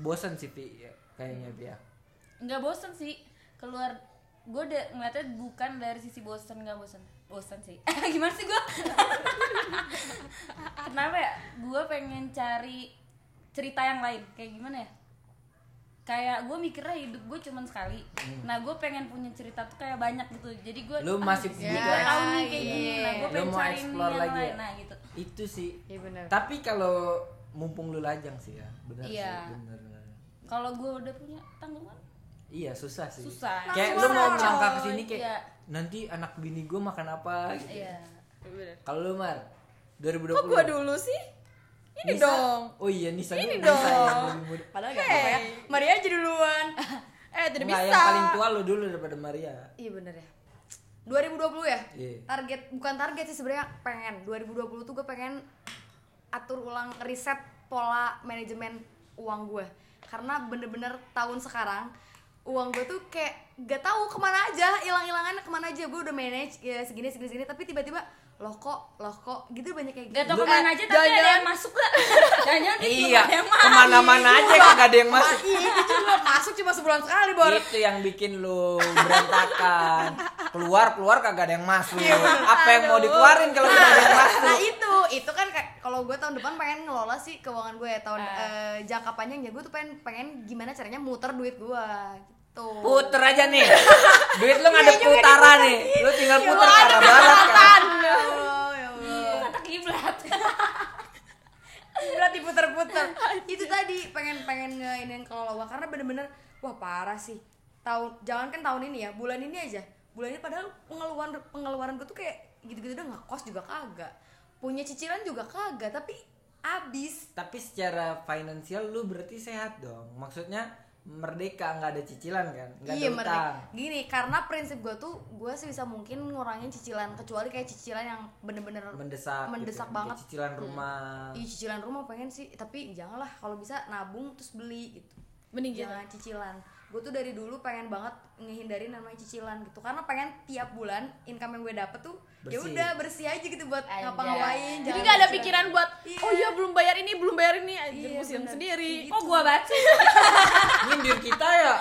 Speaker 1: bosen sih Pi, ya. kayaknya dia
Speaker 4: Enggak bosen sih keluar gue udah ngeliatnya bukan dari sisi bosen nggak bosen bosen sih <laughs> gimana sih gue kenapa ya gue pengen cari cerita yang lain kayak gimana ya kayak gue mikirnya hidup gue cuman sekali nah gue pengen punya cerita tuh kayak banyak gitu jadi gue
Speaker 1: Hmm. Lu masih
Speaker 4: gue
Speaker 1: punya.
Speaker 4: tahu nih kayak gini nah gue
Speaker 1: Lu
Speaker 4: pengen
Speaker 1: mau
Speaker 4: cari nih
Speaker 1: explore
Speaker 4: yang
Speaker 1: lagi
Speaker 4: lain
Speaker 1: ya?
Speaker 4: nah gitu
Speaker 1: itu sih
Speaker 3: iya benar
Speaker 1: tapi kalau mumpung lu lajang sih ya benar
Speaker 4: Iya.
Speaker 1: sih benar benar.
Speaker 4: kalau gue udah punya tanggungan
Speaker 1: iya susah sih
Speaker 4: Susah.
Speaker 1: kayak lu
Speaker 4: Langsung
Speaker 1: mau
Speaker 4: orang,
Speaker 1: melangkah ke
Speaker 4: coy.
Speaker 1: sini kayak
Speaker 4: Iya.
Speaker 1: nanti anak bini gue makan apa gitu
Speaker 4: iya
Speaker 2: Bener.
Speaker 1: kalau lu mar 2020
Speaker 2: Kok gua dulu sih? Ini
Speaker 1: Nisa?
Speaker 2: dong.
Speaker 1: oh iya Nisa
Speaker 2: Ini
Speaker 1: dulu, Nisa yang
Speaker 2: dong.
Speaker 1: lebih muda.
Speaker 3: padahal gak apa-apa ya Maria aja <laughs> duluan
Speaker 2: Eh, tidak
Speaker 1: Nggak,
Speaker 2: bisa.
Speaker 1: yang paling tua lu dulu daripada Maria.
Speaker 3: iya bener ya 2020 ya
Speaker 1: Iya.
Speaker 3: target bukan target sih sebenarnya pengen 2020 tuh gue pengen atur ulang riset pola manajemen uang gue karena bener-bener tahun sekarang uang gue tuh kayak gak tahu kemana aja hilang hilangannya kemana aja gue udah manage ya segini segini segini tapi tiba-tiba loh kok loh kok gitu banyak kayak gitu
Speaker 4: Gak tau
Speaker 1: Lu-
Speaker 4: kemana aja tapi ada
Speaker 2: jangan-jangan-
Speaker 4: yang masuk gak? <laughs> Jangan-jangan dia belum
Speaker 1: Iya,
Speaker 4: ada yang masuk
Speaker 1: kemana-mana aja kagak ada yang masuk.
Speaker 3: Iya, itu juga masuk cuma sebulan sekali bor
Speaker 1: Itu yang bikin lu berantakan. Keluar keluar kagak ada yang masuk. Apa yang mau dikeluarin kalau nggak ada yang masuk?
Speaker 3: nah itu itu kan kayak- kalau gue tahun depan pengen ngelola sih keuangan gue tahun
Speaker 1: Ah.
Speaker 3: eh, jangka panjang ya gue tuh pengen pengen gimana caranya muter duit gue gitu
Speaker 1: Puter aja nih. Duit lu nggak ada putaran nih. Lu tinggal puter ke arah barat kan.
Speaker 3: Ya Allah, ya Allah.
Speaker 4: Itu kata kiblat
Speaker 3: berarti
Speaker 1: <laughs>
Speaker 3: puter-puter itu tadi pengen pengen ngeinin kelola uang karena bener-bener wah parah sih tahun jangan kan tahun ini ya bulan ini aja bulan ini padahal pengeluaran pengeluaran gue tuh kayak gitu-gitu udah ngekos juga kagak punya cicilan juga kagak tapi abis
Speaker 1: Tapi secara finansial lu berarti sehat dong. Maksudnya merdeka nggak ada cicilan kan? Nggak ada
Speaker 3: Iya mereka
Speaker 1: utang.
Speaker 3: Gini karena prinsip gue tuh gue sebisa mungkin ngurangin cicilan kecuali kayak cicilan yang bener-bener
Speaker 1: Mendesak. gitu.
Speaker 3: mendesak
Speaker 1: Kayak
Speaker 3: banget.
Speaker 1: Cicilan rumah.
Speaker 3: Iya cicilan rumah pengen sih tapi janganlah kalau bisa nabung terus beli gitu.
Speaker 2: Mending gitu.
Speaker 3: Jangan cicilan. Gue tuh dari dulu pengen banget ngehindarin namanya cicilan gitu karena pengen tiap bulan income yang gue dapet tuh ya
Speaker 1: Bersih.
Speaker 3: udah bersih aja gitu buat
Speaker 4: Anjay.
Speaker 3: ngapa-ngapain.
Speaker 2: Jadi
Speaker 3: jangan
Speaker 2: gak ada
Speaker 3: cicilan.
Speaker 2: pikiran buat oh iya belum bayar ini, belum bayar ini, anjir
Speaker 3: Iya,
Speaker 2: pusing
Speaker 3: bener.
Speaker 2: sendiri. Oh,
Speaker 4: Kok gua banget sih?
Speaker 1: Nyindir kita ya.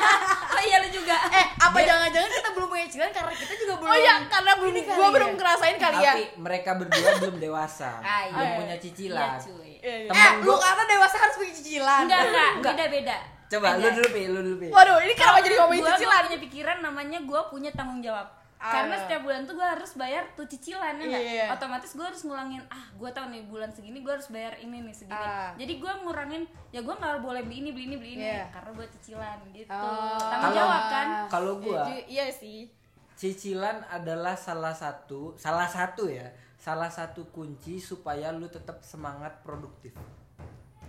Speaker 4: <laughs> Oh iya lu juga
Speaker 3: Eh apa jangan-jangan kita belum punya cicilan karena kita juga belum
Speaker 2: Oh iya, karena belum
Speaker 3: Ini kali
Speaker 2: gua
Speaker 3: ya.
Speaker 2: belum ngerasain kali ya.
Speaker 1: Tapi mereka berdua belum dewasa,
Speaker 4: Ah, iya.
Speaker 1: belum punya cicilan.
Speaker 4: Iya, cuy.
Speaker 2: Iya, iya.
Speaker 1: Temen
Speaker 3: Eh lu kata dewasa harus punya cicilan.
Speaker 4: Enggak, enggak, beda-beda
Speaker 1: Coba lu dulu pi, lu dulu pi.
Speaker 2: Waduh, ini kenapa jadi ngomongin
Speaker 4: Gua
Speaker 2: cicilan?
Speaker 4: gak punya pikiran namanya gua punya tanggung jawab
Speaker 2: Ah.
Speaker 4: karena setiap bulan tuh gua harus bayar tuh cicilan ya nggak?
Speaker 2: Iya.
Speaker 4: otomatis gua harus ngulangin ah gua tahu nih bulan segini gua harus bayar ini nih segini
Speaker 3: Ah.
Speaker 4: jadi gua ngurangin ya gua nggak boleh beli ini beli ini beli ini
Speaker 2: Iya.
Speaker 4: karena gua cicilan gitu
Speaker 2: Oh.
Speaker 4: tanggung
Speaker 1: Kalau-
Speaker 4: jawab kan
Speaker 1: Kalau gua,
Speaker 2: Iya, Iya sih.
Speaker 1: cicilan adalah salah satu, salah satu ya, salah satu kunci supaya lu tetap semangat produktif.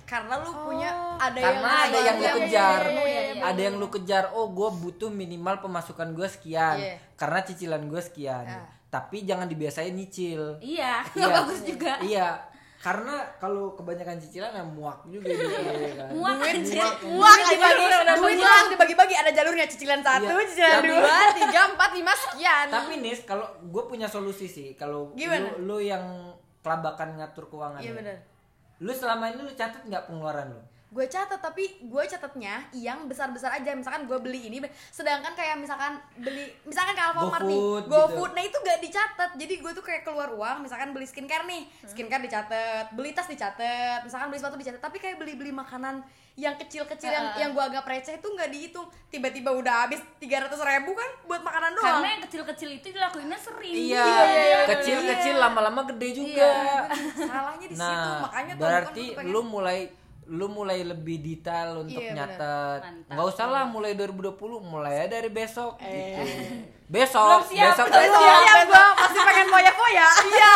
Speaker 3: karena lu punya ada
Speaker 1: Karena
Speaker 3: yang
Speaker 1: ada yang lu
Speaker 2: iya, iya,
Speaker 1: kejar,
Speaker 2: iya, iya, iya.
Speaker 1: ada yang lu kejar. Oh, gua butuh minimal pemasukan gua sekian,
Speaker 3: Iya.
Speaker 1: karena cicilan gua sekian. Tapi jangan dibiasain nyicil.
Speaker 4: <laughs> iya nggak bagus juga
Speaker 1: Iya. Karena kalau kebanyakan cicilan ya muak juga gitu ya kan.
Speaker 4: <laughs> muak anjir
Speaker 2: Uang
Speaker 3: Duit dibagi,
Speaker 2: dibagi,
Speaker 3: duit
Speaker 2: duit
Speaker 3: lu langsung dibagi-bagi ada jalurnya cicilan satu,
Speaker 1: Iya.
Speaker 3: cicilan
Speaker 1: Tapi-
Speaker 3: dua.
Speaker 2: tiga, empat, lima, sekian.
Speaker 1: Tapi Nis, kalau gue punya solusi sih. Kalau
Speaker 3: Gimana?
Speaker 1: lu, lu yang kelabakan ngatur keuangan. ya.
Speaker 3: Iya benar.
Speaker 1: Lu selama ini lu catat nggak pengeluaran lu?
Speaker 3: gue catat tapi gue catatnya yang besar-besar aja misalkan gue beli ini sedangkan kayak misalkan beli misalkan ke Alfamart nih
Speaker 1: GoFood gitu.
Speaker 3: GoFood nah itu gak dicatat jadi gue tuh kayak keluar uang misalkan beli skincare nih skincare dicatat beli tas dicatat misalkan beli sepatu dicatat tapi kayak beli beli makanan yang kecil-kecil yang yang gue agak receh itu nggak dihitung tiba-tiba udah habis 300 ribu kan buat makanan doang
Speaker 4: karena yang kecil-kecil itu dilakuinnya sering
Speaker 5: Iya, kecil-kecil lama-lama gede juga.
Speaker 3: salahnya Iya, di situ
Speaker 1: Nah,
Speaker 3: makanya tuh
Speaker 1: berarti
Speaker 3: bukan
Speaker 1: lu mulai lu mulai lebih detail untuk
Speaker 3: Iya, benar.
Speaker 1: nyatet.
Speaker 4: Mantap.
Speaker 1: Nggak usah lah mulai 2020, mulai dari besok gitu.
Speaker 3: <laughs>
Speaker 1: Besok,
Speaker 4: siap,
Speaker 1: besok,
Speaker 3: Eh.
Speaker 1: besok,
Speaker 3: Belum siap gue Iya, masih pengen foya-foya iya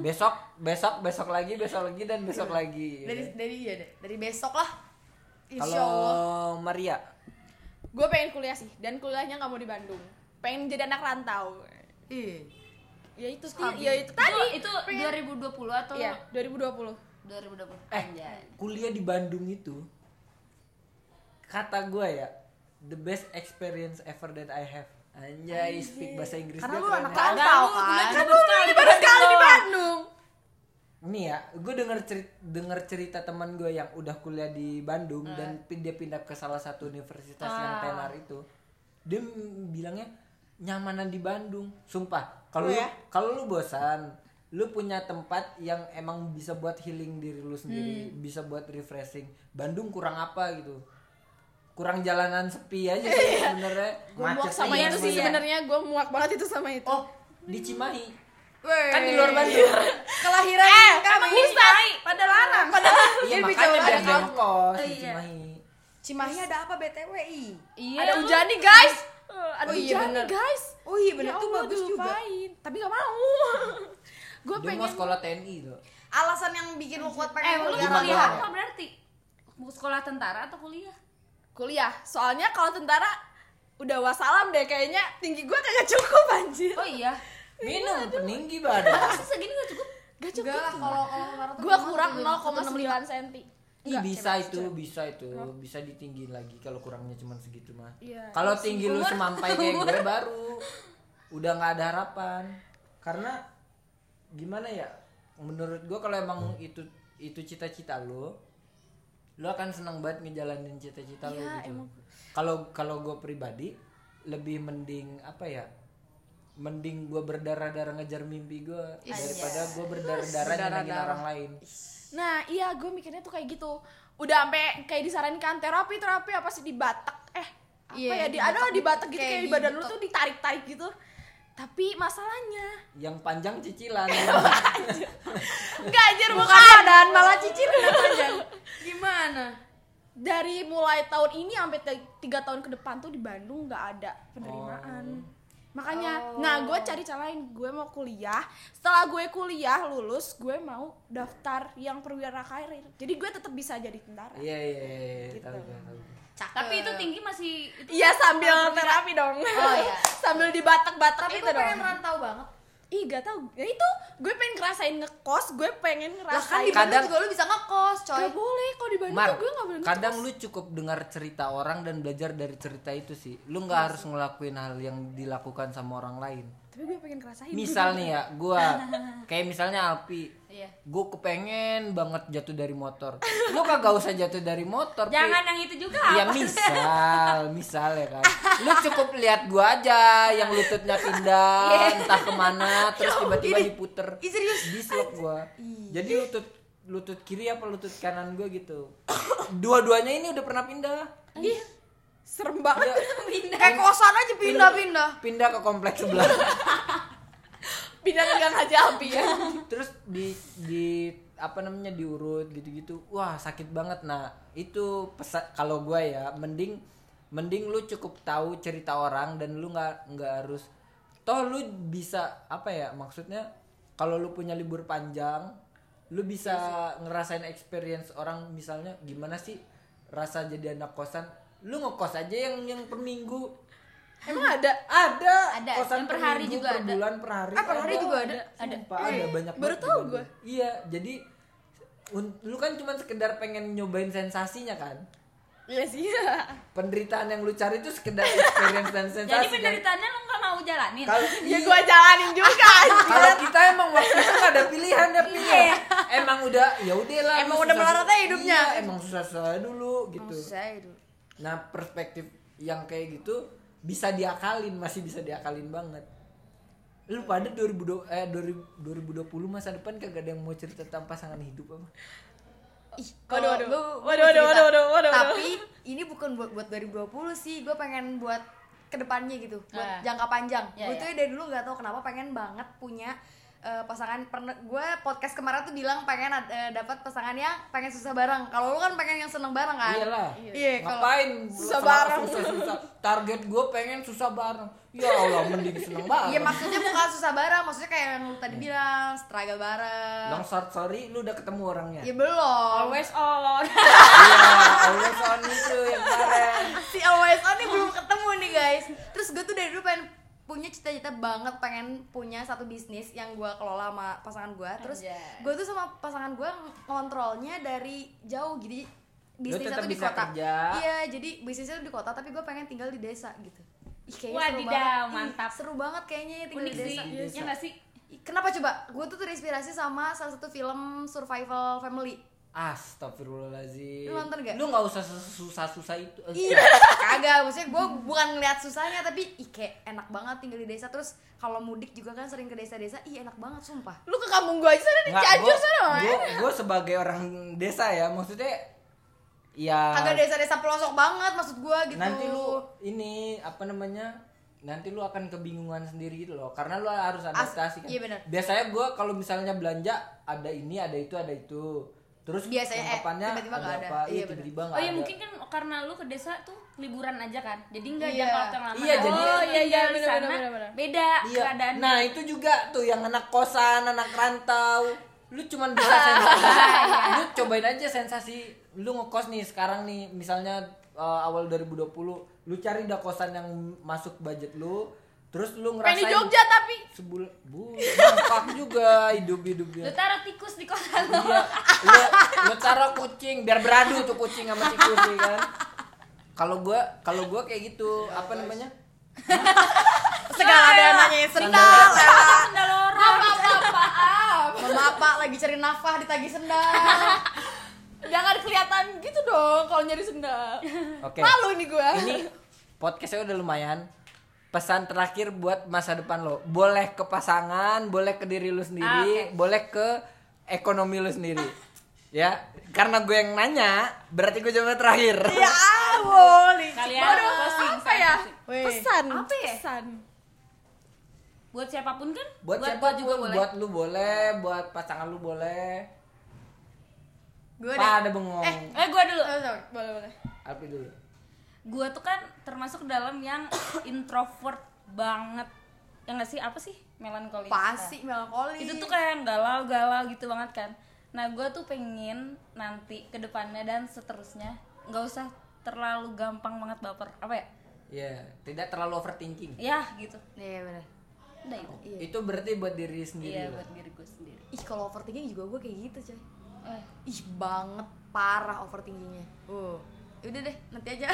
Speaker 1: besok, besok, besok lagi, besok lagi dan besok lagi.
Speaker 3: dari dari iya deh dari besok lah insya Allah
Speaker 1: Kalau Maria,
Speaker 2: Gue pengen kuliah sih dan kuliahnya nggak mau di Bandung. Pengen jadi anak rantau.
Speaker 3: Ih.
Speaker 2: Ya itu sih, ya itu tadi.
Speaker 4: itu, itu 2020
Speaker 3: ya,
Speaker 4: atau
Speaker 2: Iya, 2020.
Speaker 4: 2020
Speaker 1: Eh.
Speaker 3: Iya.
Speaker 4: anjay
Speaker 1: kuliah di Bandung itu kata gue ya the best experience ever that I have. Anjay, speak bahasa Inggris
Speaker 3: Karena
Speaker 1: dia
Speaker 3: lu
Speaker 1: keren
Speaker 3: anak
Speaker 1: ya.
Speaker 3: rantau.
Speaker 4: Enggak, lu
Speaker 3: kan?
Speaker 4: bulan baru sekali baru sekali di Bandung
Speaker 1: Nih ya, gue denger cerita, denger cerita teman gue yang udah kuliah di Bandung dan
Speaker 2: Ah.
Speaker 1: pin- dia pindah ke salah satu universitas yang tenar itu. Dia m- bilangnya nyamanan di Bandung. Sumpah,
Speaker 2: Oh
Speaker 1: kalau
Speaker 2: ya?
Speaker 1: lu, kalau lu bosan, lu punya tempat yang emang bisa buat healing diri lu sendiri,
Speaker 2: Hmm.
Speaker 1: bisa buat refreshing. Bandung kurang apa gitu? Kurang jalanan sepi
Speaker 2: <laughs>
Speaker 1: aja sih sebenarnya.
Speaker 2: Gue Iya.
Speaker 1: Macetnya
Speaker 2: muak sama
Speaker 1: yang
Speaker 2: itu Iya sih
Speaker 1: bener.
Speaker 2: sebenarnya gue muak banget itu sama itu.
Speaker 1: Oh, di Cimahi.
Speaker 3: Wey.
Speaker 1: Kan di luar Bandung.
Speaker 3: kelahiran kan kami
Speaker 2: pada larang, pada
Speaker 1: iya,
Speaker 3: Dia bisa
Speaker 1: makanya
Speaker 3: ada
Speaker 1: biar gak
Speaker 3: kampus.
Speaker 1: ngekos
Speaker 2: Oh,
Speaker 1: di
Speaker 2: iya.
Speaker 1: Cimahi.
Speaker 3: Cimahi ada apa BTW I?
Speaker 4: iya
Speaker 2: ada
Speaker 4: lu-
Speaker 2: hujan nih guys. ada
Speaker 3: Oh iya,
Speaker 2: hujan
Speaker 3: bener.
Speaker 2: nih guys.
Speaker 3: Oh iya bener
Speaker 2: Ya
Speaker 3: tuh
Speaker 2: Allah,
Speaker 3: bagus juga.
Speaker 2: dilupain. Tapi gak
Speaker 3: <laughs>
Speaker 2: mau. gue
Speaker 1: Dia
Speaker 2: pengen
Speaker 1: mau sekolah TNI tuh.
Speaker 3: Alasan yang bikin lu kuat
Speaker 4: eh
Speaker 3: pengen
Speaker 1: Di
Speaker 4: lu
Speaker 3: kuliah
Speaker 1: mana?
Speaker 4: kuliah
Speaker 3: lagi.
Speaker 4: apa berarti sekolah tentara atau kuliah
Speaker 2: kuliah. Soalnya kalau tentara udah wasalam deh kayaknya tinggi gue kagak cukup anjir.
Speaker 4: oh iya
Speaker 1: Minum peninggi badan.
Speaker 4: masa segini gak cukup
Speaker 3: Enggak
Speaker 2: Gak cukup.
Speaker 3: lah kalau kalau kemarin tuh
Speaker 2: Gue
Speaker 3: cuma
Speaker 2: kurang
Speaker 3: tujuh-
Speaker 2: 0,9 cm.
Speaker 1: Ih, bisa itu, bisa itu, bisa ditinggiin lagi kalau kurangnya cuman segitu mah. Kalau tinggi lu semampai kayak gue baru udah nggak ada harapan. Karena gimana ya? Menurut gue kalau emang itu itu cita-cita lu, lu akan senang banget ngejalanin cita-cita lu gitu. Kalau kalau gue pribadi lebih mending apa ya? Mending gue berdarah-darah ngejar mimpi gue daripada gue berdarah-darah nyenengin orang lain.
Speaker 2: Nah iya gue mikirnya tuh kayak gitu Udah sampai kayak disarankan terapi-terapi apa sih di Batak Eh apa
Speaker 3: Iya,
Speaker 2: ya di,
Speaker 3: di
Speaker 2: ada
Speaker 3: Batak
Speaker 2: di Batak gitu
Speaker 3: kayak
Speaker 2: kayak, di
Speaker 3: di
Speaker 2: badan lu
Speaker 3: Batak.
Speaker 2: tuh ditarik-tarik gitu Tapi masalahnya
Speaker 1: Yang panjang cicilan.
Speaker 2: Enggak anjir bukan, Iya,
Speaker 3: Dan malah
Speaker 2: <laughs>
Speaker 3: cicil udah panjang. Gimana?
Speaker 2: Dari mulai tahun ini sampai te- tiga tahun ke depan tuh di Bandung nggak ada penerimaan Makanya, nah gue cari cara lain, gue mau kuliah Setelah gue kuliah, lulus, gue mau daftar yang perwira karir Jadi gue tetap bisa jadi tentara
Speaker 1: Iya iya iya, iya. Tahu gue, tahu gue.
Speaker 3: Cakep.
Speaker 4: Gitu. tapi itu tinggi masih itu
Speaker 2: Iya sambil terapi dong.
Speaker 3: Oh, iya.
Speaker 2: <laughs> sambil dibatak-batak
Speaker 3: Tapi
Speaker 2: itu
Speaker 3: gue pengen
Speaker 2: dong.
Speaker 3: rantau banget.
Speaker 2: Ih gak tau. Ya itu gue pengen ngerasain ngekos, gue pengen
Speaker 3: Lah kan di
Speaker 2: ngerasain.
Speaker 3: Bandung
Speaker 1: Kadang-
Speaker 3: juga lu bisa ngekos, coy.
Speaker 2: Gak boleh kalau di Bandung
Speaker 1: Mar, kan-
Speaker 2: tuh gue gak boleh ngekos.
Speaker 1: kadang lu cukup dengar cerita orang dan belajar dari cerita itu sih. Lu
Speaker 4: Iya
Speaker 1: nggak harus ngelakuin hal yang dilakukan sama orang lain.
Speaker 4: Eh,
Speaker 2: Tapi gue pengen ngerasain.
Speaker 1: Misal nih ya,
Speaker 4: <laughs>
Speaker 1: gua kayak misalnya Alpi.
Speaker 4: Iya.
Speaker 1: Gue kepengen banget jatuh dari motor. Lu kagak usah jatuh dari motor. Pi.
Speaker 4: jangan yang itu juga
Speaker 1: Iya misal, misal ya kan. Lu cukup lihat gua aja yang lututnya pindah,
Speaker 2: Iya.
Speaker 1: entah kemana,
Speaker 2: <laughs>
Speaker 1: terus tiba-tiba diputer. Dislok gua. Jadi lutut lutut kiri apa lutut kanan gua gitu. Dua-duanya ini udah pernah pindah.
Speaker 2: Ih, Iya. serem banget.
Speaker 1: Iya,
Speaker 3: Kayak kosan aja pindah-pindah.
Speaker 1: pindah ke kompleks sebelah.
Speaker 2: <laughs> Pindah ke gang Haji Alpi ya.
Speaker 1: <laughs> Terus di di apa namanya diurut gitu-gitu. Wah, sakit banget. Nah, itu pesa- kalau gua ya mending mending lu cukup tahu cerita orang dan lu nggak nggak harus toh lu bisa apa ya maksudnya kalau lu punya libur panjang lu bisa
Speaker 2: Iya
Speaker 1: ngerasain experience orang misalnya gimana sih rasa jadi anak kosan lu ngekos aja yang yang per minggu
Speaker 2: Emang ada.
Speaker 1: ada,
Speaker 4: Ada,
Speaker 1: kosan
Speaker 4: yang per hari
Speaker 1: Oh, minggu,
Speaker 4: juga
Speaker 1: per
Speaker 4: ada.
Speaker 1: bulan per hari
Speaker 3: Eh, per hari juga ada.
Speaker 1: ada ada banyak
Speaker 2: Iya, baru
Speaker 1: banget
Speaker 2: tahu
Speaker 1: di Bandung.
Speaker 2: gua.
Speaker 1: iya jadi un- lu kan cuma sekedar pengen nyobain sensasinya kan
Speaker 2: Iya sih.
Speaker 1: penderitaan yang lu cari itu sekedar experience dan
Speaker 4: jadi
Speaker 1: sensasi kan
Speaker 4: penderitaannya lu gak mau jalanin
Speaker 1: kalau iya,
Speaker 2: Ya gue jalanin juga.
Speaker 1: kalau kita emang waktu itu nggak ada pilihan ya pilih
Speaker 4: Iya.
Speaker 1: emang udah ya udah lah.
Speaker 3: Emang
Speaker 1: lu
Speaker 3: udah
Speaker 1: susah-
Speaker 3: melarat aja hidupnya.
Speaker 1: Iya, emang susah-susah dulu gitu.
Speaker 3: Saya itu.
Speaker 1: Nah, perspektif yang kayak gitu bisa diakalin, masih bisa diakalin banget. Lu pada 2020 eh 2000 2020 masa depan kagak ada yang mau cerita tentang pasangan hidup apa?
Speaker 3: Ih,
Speaker 2: Waduh,
Speaker 3: kalau
Speaker 2: waduh.
Speaker 3: gua- gua
Speaker 2: Waduh, waduh,
Speaker 3: cerita.
Speaker 2: waduh, waduh, waduh, waduh.
Speaker 3: Tapi ini bukan buat buat 2020 sih, gue pengen buat kedepannya gitu, buat
Speaker 4: Ah.
Speaker 2: Nah.
Speaker 3: jangka panjang.
Speaker 4: Ya, ya.
Speaker 3: gue tuh dari dulu nggak tahu kenapa pengen banget punya eh, pasangan pernah gue podcast kemarin tuh bilang pengen ad- eh, dapat pasangan yang pengen susah bareng kalau lu kan pengen yang seneng bareng kan
Speaker 1: Iyalah.
Speaker 3: iya kalau
Speaker 1: Ngapain
Speaker 3: susah
Speaker 1: Sel-
Speaker 3: bareng.
Speaker 1: susah-susah. Target gue pengen susah bareng. Ya Allah, mending seneng banget.
Speaker 3: iya maksudnya bukan susah bareng maksudnya kayak yang lu tadi bilang struggle bareng
Speaker 1: Long short story, lu udah ketemu orangnya.
Speaker 3: ya belum
Speaker 4: Always on.
Speaker 1: Iya, always on itu yang kemarin.
Speaker 3: si always on nih belum ketemu nih guys terus gue tuh dari dulu pengen punya cita-cita banget pengen punya satu bisnis yang gue kelola sama pasangan gue terus
Speaker 4: Anjay.
Speaker 3: gue tuh sama pasangan gue ngontrolnya dari jauh jadi bisnisnya
Speaker 1: tetap
Speaker 3: tuh di
Speaker 1: bisa
Speaker 3: kota
Speaker 1: kerja.
Speaker 3: iya jadi bisnisnya tuh di kota tapi gue pengen tinggal di desa gitu Ih, kayaknya seru
Speaker 4: Wadidaw,
Speaker 3: banget. Ih,
Speaker 4: mantap.
Speaker 3: seru banget kayaknya ya tinggal
Speaker 4: Unik
Speaker 3: di
Speaker 4: sih.
Speaker 3: desa
Speaker 1: Desa.
Speaker 4: Ya nggak sih?
Speaker 3: Ih, kenapa coba gue tuh terinspirasi sama salah satu film survival family
Speaker 1: Astagfirullahaladzim
Speaker 3: Lu nonton nggak?
Speaker 1: Lu nggak usah susah-susah itu
Speaker 3: Iya, kagak. Maksudnya gue bukan ngeliat susahnya, tapi ih kayak enak banget tinggal di desa. Terus kalau mudik juga kan sering ke desa-desa, ih enak banget sumpah.
Speaker 2: Lu ke kampung gua aja sana di
Speaker 1: Nggak,
Speaker 2: Cianjur
Speaker 1: gua-
Speaker 2: sana.
Speaker 1: gua, gua sebagai orang desa ya Maksudnya Ya
Speaker 3: Kagak desa-desa pelosok banget maksud gue gitu.
Speaker 1: Nanti lu ini apa namanya Nanti lu akan kebingungan sendiri gitu loh Karena lu harus adaptasi kan
Speaker 3: iya bener.
Speaker 1: Biasanya gue kalau misalnya belanja Ada ini, ada itu, ada itu Terus
Speaker 3: Biasanya, eh,
Speaker 1: kelengkapannya
Speaker 3: tiba-tiba nggak ada.
Speaker 1: apa,
Speaker 3: Iya,
Speaker 1: Iya
Speaker 3: bener.
Speaker 1: tiba-tiba nggak
Speaker 4: Oh iya
Speaker 1: ada.
Speaker 4: mungkin kan karena lu ke desa tuh liburan aja kan. Jadi nggak
Speaker 3: Iya.
Speaker 4: jangka waktu yang lama.
Speaker 1: Iya,
Speaker 4: Nah,
Speaker 1: jadi-
Speaker 4: oh iya iya
Speaker 2: Iya,
Speaker 4: di
Speaker 2: bener,
Speaker 4: sana
Speaker 2: bener, bener.
Speaker 4: beda
Speaker 1: Iya.
Speaker 4: keadaan.
Speaker 1: Nah itu juga tuh yang anak kosan, anak rantau. Lu cuman
Speaker 2: <laughs>
Speaker 1: bisa sensasi.
Speaker 2: Iya.
Speaker 1: lu cobain aja sensasi. Lu ngekos nih sekarang nih, misalnya eh, awal 2020, lu cari dah kosan yang masuk budget lu. Terus lu
Speaker 2: Pengen
Speaker 1: ngerasain
Speaker 2: di Jogja tapi
Speaker 1: sebulan bu nampak juga hidup
Speaker 4: Lu
Speaker 1: hidupnya
Speaker 4: taruh tikus di kosan
Speaker 1: <laughs>
Speaker 4: lu.
Speaker 1: Iya, lu, lu taruh kucing biar beradu tuh kucing sama tikus ya kan kalau gua kalau gua kayak gitu apa namanya
Speaker 3: segala ada yang nanya sendal.
Speaker 4: Sendal lorong.
Speaker 3: Mama apa lagi cari nafkah ditagih sendal.
Speaker 2: Nah. <laughs> jangan kelihatan gitu dong kalau nyari sendal.
Speaker 1: oke
Speaker 2: Malu nih gua.
Speaker 1: ini podcastnya udah lumayan pesan terakhir buat masa depan lo boleh ke pasangan boleh ke diri lu sendiri boleh ke ekonomi lu sendiri ya karena gue yang nanya berarti gue jawab terakhir
Speaker 2: Ya, boleh.
Speaker 4: Kalian posting,
Speaker 2: apa ya?
Speaker 4: posting.
Speaker 2: Pesan.
Speaker 4: Apa ya?
Speaker 2: Pesan.
Speaker 4: Buat siapapun kan?
Speaker 1: buat, siapa
Speaker 4: gua
Speaker 1: juga buat lu boleh buat pasangan lu boleh
Speaker 3: Gue
Speaker 1: pada bengong
Speaker 4: Eh gua dulu.
Speaker 2: Boleh, boleh.
Speaker 1: Alpi dulu
Speaker 4: Gua tuh kan termasuk dalam yang <coughs> introvert banget. Ya nggak sih? Apa sih? Melankolis.
Speaker 3: pasti melankoli.
Speaker 4: itu tuh kayak yang galau-galau gitu banget kan nah gue tuh pengen nanti ke depannya dan seterusnya nggak usah terlalu gampang banget baper apa ya
Speaker 1: ya tidak terlalu overthinking
Speaker 4: ya gitu
Speaker 3: Iya bener.
Speaker 4: udah
Speaker 1: ya?
Speaker 4: itu
Speaker 1: itu berarti buat diri
Speaker 4: iya
Speaker 1: sendiri lo.
Speaker 4: buat diri gue sendiri
Speaker 3: Ih kalau overthinking juga gue kayak gitu coy.
Speaker 4: Eh,
Speaker 3: Ih banget parah overthinkingnya. Uh. Udah deh, nanti <laughs> aja.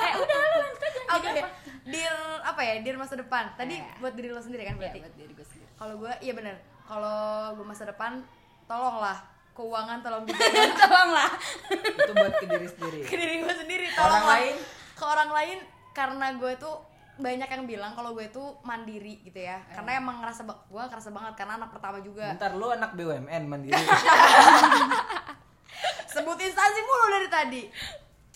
Speaker 4: eh udah lu lanjut aja
Speaker 3: Oke,
Speaker 4: Jadi apa?
Speaker 3: deal apa ya? Deal masa depan. Tadi
Speaker 4: Ya.
Speaker 3: buat diri lo sendiri
Speaker 4: Iya,
Speaker 3: kan berarti.
Speaker 4: buat diri gue <laughs> sendiri
Speaker 3: Kalau gue, iya bener. Kalau gue masa depan, tolonglah keuangan tolong dijaga
Speaker 4: tolonglah
Speaker 1: itu buat ke diri <laughs> sendiri
Speaker 3: ke diri gue sendiri.
Speaker 1: Orang
Speaker 3: Tolonglah
Speaker 1: lain?
Speaker 3: ke orang lain karena gue tuh banyak yang bilang kalau gue tuh mandiri gitu ya.
Speaker 1: Eh.
Speaker 3: Karena emang ngerasa ba- gue ngerasa banget karena anak pertama juga.
Speaker 1: bentar lu anak BUMN <laughs> mandiri
Speaker 3: Sebut instansi mulu dari tadi.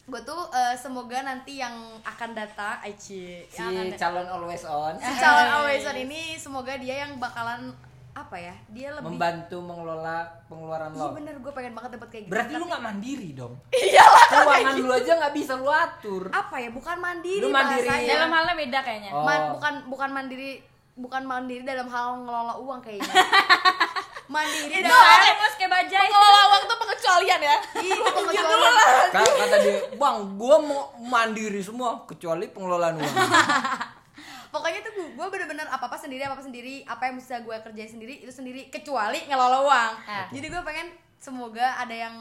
Speaker 3: Gue tuh eh, semoga nanti yang akan datang, Aici,
Speaker 1: si
Speaker 3: yang akan datang.
Speaker 1: calon always <laughs> on
Speaker 3: si calon always on ini semoga dia yang bakalan apa ya dia lebih
Speaker 1: membantu mengelola pengeluaran
Speaker 3: iya
Speaker 1: lo.
Speaker 3: bener gue pengen banget dapat kayak gitu
Speaker 1: Berarti
Speaker 3: Tapi
Speaker 1: lu nggak mandiri dong.
Speaker 2: Iyalah.
Speaker 1: Keuangan lu aja nggak bisa lu atur.
Speaker 3: apa ya bukan mandiri
Speaker 1: Lu mandiri.
Speaker 3: bahasanya.
Speaker 4: dalam halnya beda kayaknya
Speaker 1: Oh.
Speaker 3: Man- bukan bukan mandiri bukan mandiri dalam hal ngelola uang kayaknya mandiri
Speaker 4: Udah
Speaker 3: dalam
Speaker 4: ada bos kayak bajai
Speaker 2: Pengelola uang tuh pengecualian ya.
Speaker 4: Eh,
Speaker 3: Ih, pengecualian.
Speaker 1: Kata, kata dia, bang, gua mau mandiri semua kecuali pengelolaan uang.
Speaker 3: pokoknya tuh gue bener-bener apa apa sendiri apa apa sendiri apa yang bisa gue kerjain sendiri itu sendiri kecuali ngelola uang
Speaker 4: Ah.
Speaker 3: jadi gue pengen semoga ada yang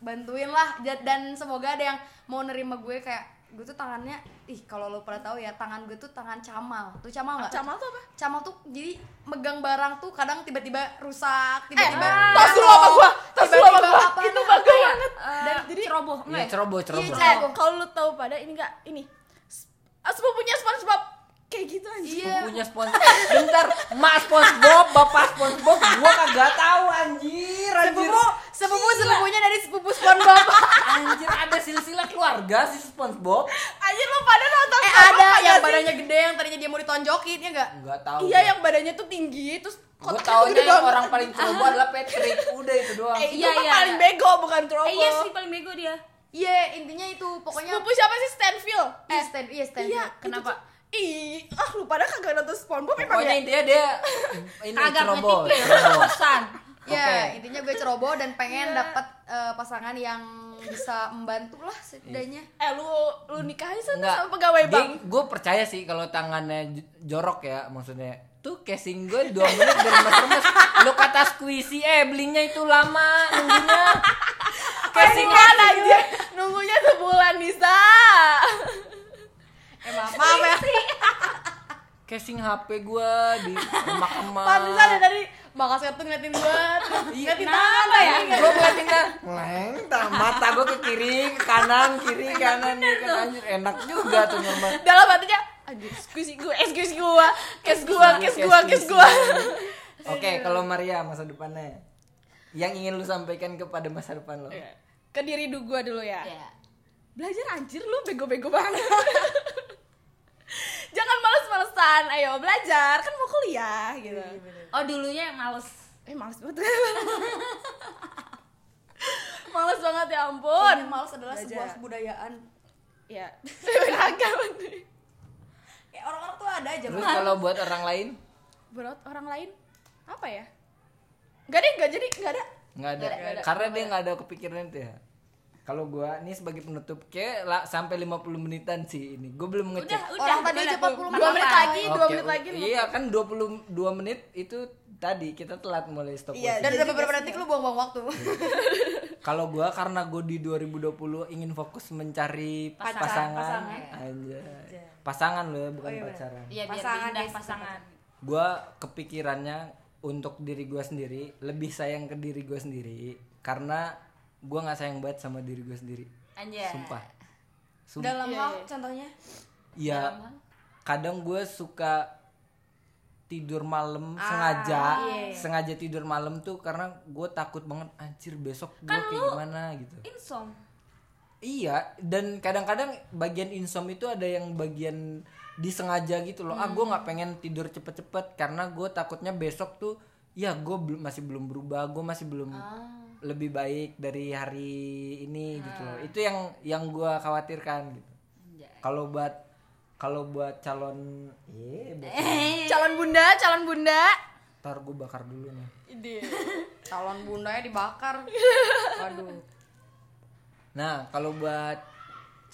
Speaker 3: bantuin lah Ja- dan semoga ada yang mau nerima gue kayak gue tuh tangannya ih kalau lo pada tahu ya tangan gue tuh tangan camal tuh camal nggak
Speaker 2: Camal tuh apa?
Speaker 3: camal tuh jadi megang barang tuh kadang tiba-tiba
Speaker 2: Eh,
Speaker 3: rusak tiba-tiba
Speaker 2: tas lu sama ah. gua, tas lu sama
Speaker 3: Tiba-tiba
Speaker 2: gua.
Speaker 3: apa
Speaker 2: Itu
Speaker 3: nah,
Speaker 2: bangga
Speaker 3: kayak-
Speaker 2: banget.
Speaker 4: dan jadi ceroboh
Speaker 5: Iya,
Speaker 4: enggak ya?
Speaker 5: ceroboh, ceroboh.
Speaker 3: Iya,
Speaker 2: Eh, kalau lu tahu pada ini enggak ini. Sp- ah, Sepupunya SpongeBob kayak gitu aja.
Speaker 3: iya
Speaker 1: punya sponsor bentar mak SpongeBob bapak SpongeBob gua kagak tahu anjir anjir
Speaker 3: sepupu sepupu sepupunya dari sepupu SpongeBob
Speaker 1: <laughs> anjir ada silsilah keluarga si SpongeBob
Speaker 2: Anjir lu pada nonton
Speaker 3: eh
Speaker 2: SpongeBob
Speaker 3: ada
Speaker 2: nggak
Speaker 3: yang
Speaker 2: sih?
Speaker 3: badannya gede yang tadinya dia mau ditonjokin ya enggak
Speaker 1: nggak tahu
Speaker 2: Iya yang badannya tuh tinggi terus
Speaker 1: gua
Speaker 2: kotaknya tuh
Speaker 1: taunya
Speaker 2: gede
Speaker 1: yang
Speaker 2: banget.
Speaker 1: orang paling ceroboh adalah Patrick udah itu doang
Speaker 2: Eh, itu
Speaker 4: Iya,
Speaker 2: mah
Speaker 4: iya.
Speaker 2: paling bego bukan
Speaker 4: eh
Speaker 2: trouble.
Speaker 4: iya sih paling bego dia
Speaker 3: iya intinya itu pokoknya
Speaker 2: Sepupu siapa sih Stanfield?
Speaker 3: eh stand iya stand
Speaker 2: Iya,
Speaker 4: kenapa?
Speaker 2: itu tuh- Ih, ah lu pada kagak nonton SpongeBob emang
Speaker 1: pokoknya
Speaker 2: ya?
Speaker 1: intinya dia ini
Speaker 4: kagak
Speaker 1: ceroboh
Speaker 4: ngetik ya
Speaker 1: ceroboh.
Speaker 2: <laughs>
Speaker 4: kosan
Speaker 3: Ya,
Speaker 1: Oke.
Speaker 3: intinya gue ceroboh dan pengen dapat eh, pasangan yang bisa membantu lah setidaknya.
Speaker 2: Eh lu lu nikah aja sana
Speaker 1: Nggak,
Speaker 2: sama pegawai
Speaker 1: dia-
Speaker 2: bank.
Speaker 1: Gue percaya sih kalau tangannya j- jorok ya maksudnya. Tuh casing gue 2 menit dari remes Lu kata squishy eh belinya itu lama
Speaker 2: <laughs>
Speaker 1: nunggunya.
Speaker 2: Kesingan aja. Nunggunya sebulan Nisa.
Speaker 3: Eh, maaf, maaf ya.
Speaker 1: Casing HP gue
Speaker 2: <laughs>
Speaker 1: di
Speaker 2: Pantesan
Speaker 1: emak-emak.
Speaker 4: Ah.
Speaker 2: ada dari
Speaker 3: Makasih tuh ngeliatin gue.
Speaker 1: Iya,
Speaker 4: apa ya
Speaker 1: gue ngeliatin kan, leng, tah, mata gue ke kiri, ke kanan, kiri, kanan, gitu anjir enak juga tuh nyaman.
Speaker 2: dalam hatinya aduh excuse gue excuse gue kes gue kes gue kes gue
Speaker 1: Oke, kalau Maria masa depannya, yang ingin lu sampaikan kepada masa depan lo?
Speaker 2: Iya. <laughs> ke diri du gue dulu ya
Speaker 4: Iya.
Speaker 2: belajar anjir lu bego-bego banget <laughs> jangan males-malesan ayo belajar kan mau kuliah gitu
Speaker 4: oh dulunya yang males
Speaker 2: eh males banget <laughs> males banget ya ampun
Speaker 3: Yang males adalah sebuah
Speaker 2: Belajar.
Speaker 3: kebudayaan.
Speaker 2: ya beragam
Speaker 3: Kayak Ya, orang-orang tuh ada aja.
Speaker 1: Terus kalau buat orang lain,
Speaker 2: buat orang lain apa ya Gak deh, gak jadi, gak ada
Speaker 1: nggak ada. Karena dia nggak ada kepikiran itu ya. Kalau gua nih sebagai penutup ke lah, sampai 50 menitan sih ini. Gua belum
Speaker 4: udah
Speaker 1: ngecek.
Speaker 4: udah
Speaker 3: Orang tadi aja 40
Speaker 2: Dua menit lagi, dua
Speaker 1: Oke,
Speaker 2: menit
Speaker 1: u-
Speaker 2: lagi
Speaker 1: Iya kan 22 menit itu tadi kita telat mulai stop.
Speaker 3: Iya, dan ada beberapa detik lu buang-buang waktu.
Speaker 1: Kalau gua karena gua di 2020 ingin fokus mencari pasangan. Pasangan, Anjay. pasangan lo ya, bukan pacaran.
Speaker 4: iya biar
Speaker 3: Pasangan
Speaker 4: pindah
Speaker 3: ya,
Speaker 4: pasangan
Speaker 1: Gua kepikirannya untuk diri gua sendiri lebih sayang ke diri gua sendiri karena gua nggak sayang banget sama diri gua sendiri.
Speaker 4: anjir
Speaker 1: Sumpah. Sumpah.
Speaker 3: Dalam hal contohnya
Speaker 1: Iya. Kadang gue suka tidur malam sengaja, sengaja tidur malam tuh karena gue takut banget anjir besok gue kayak gimana gitu.
Speaker 4: insom
Speaker 1: Iya, dan kadang-kadang bagian insom itu ada yang bagian disengaja gitu loh.
Speaker 2: Hmm.
Speaker 1: Ah, gue nggak pengen tidur cepet-cepet karena gue takutnya besok tuh, ya gue belum masih belum berubah, gue masih belum
Speaker 2: Ah.
Speaker 1: lebih baik dari hari ini gitu loh. Itu yang yang gue khawatirkan gitu. Kalau buat kalau buat calon, eh,
Speaker 2: Calon bunda, calon bunda
Speaker 1: ntar gue bakar dulu nih.
Speaker 3: calon bundanya dibakar. Waduh.
Speaker 1: Nah, kalau buat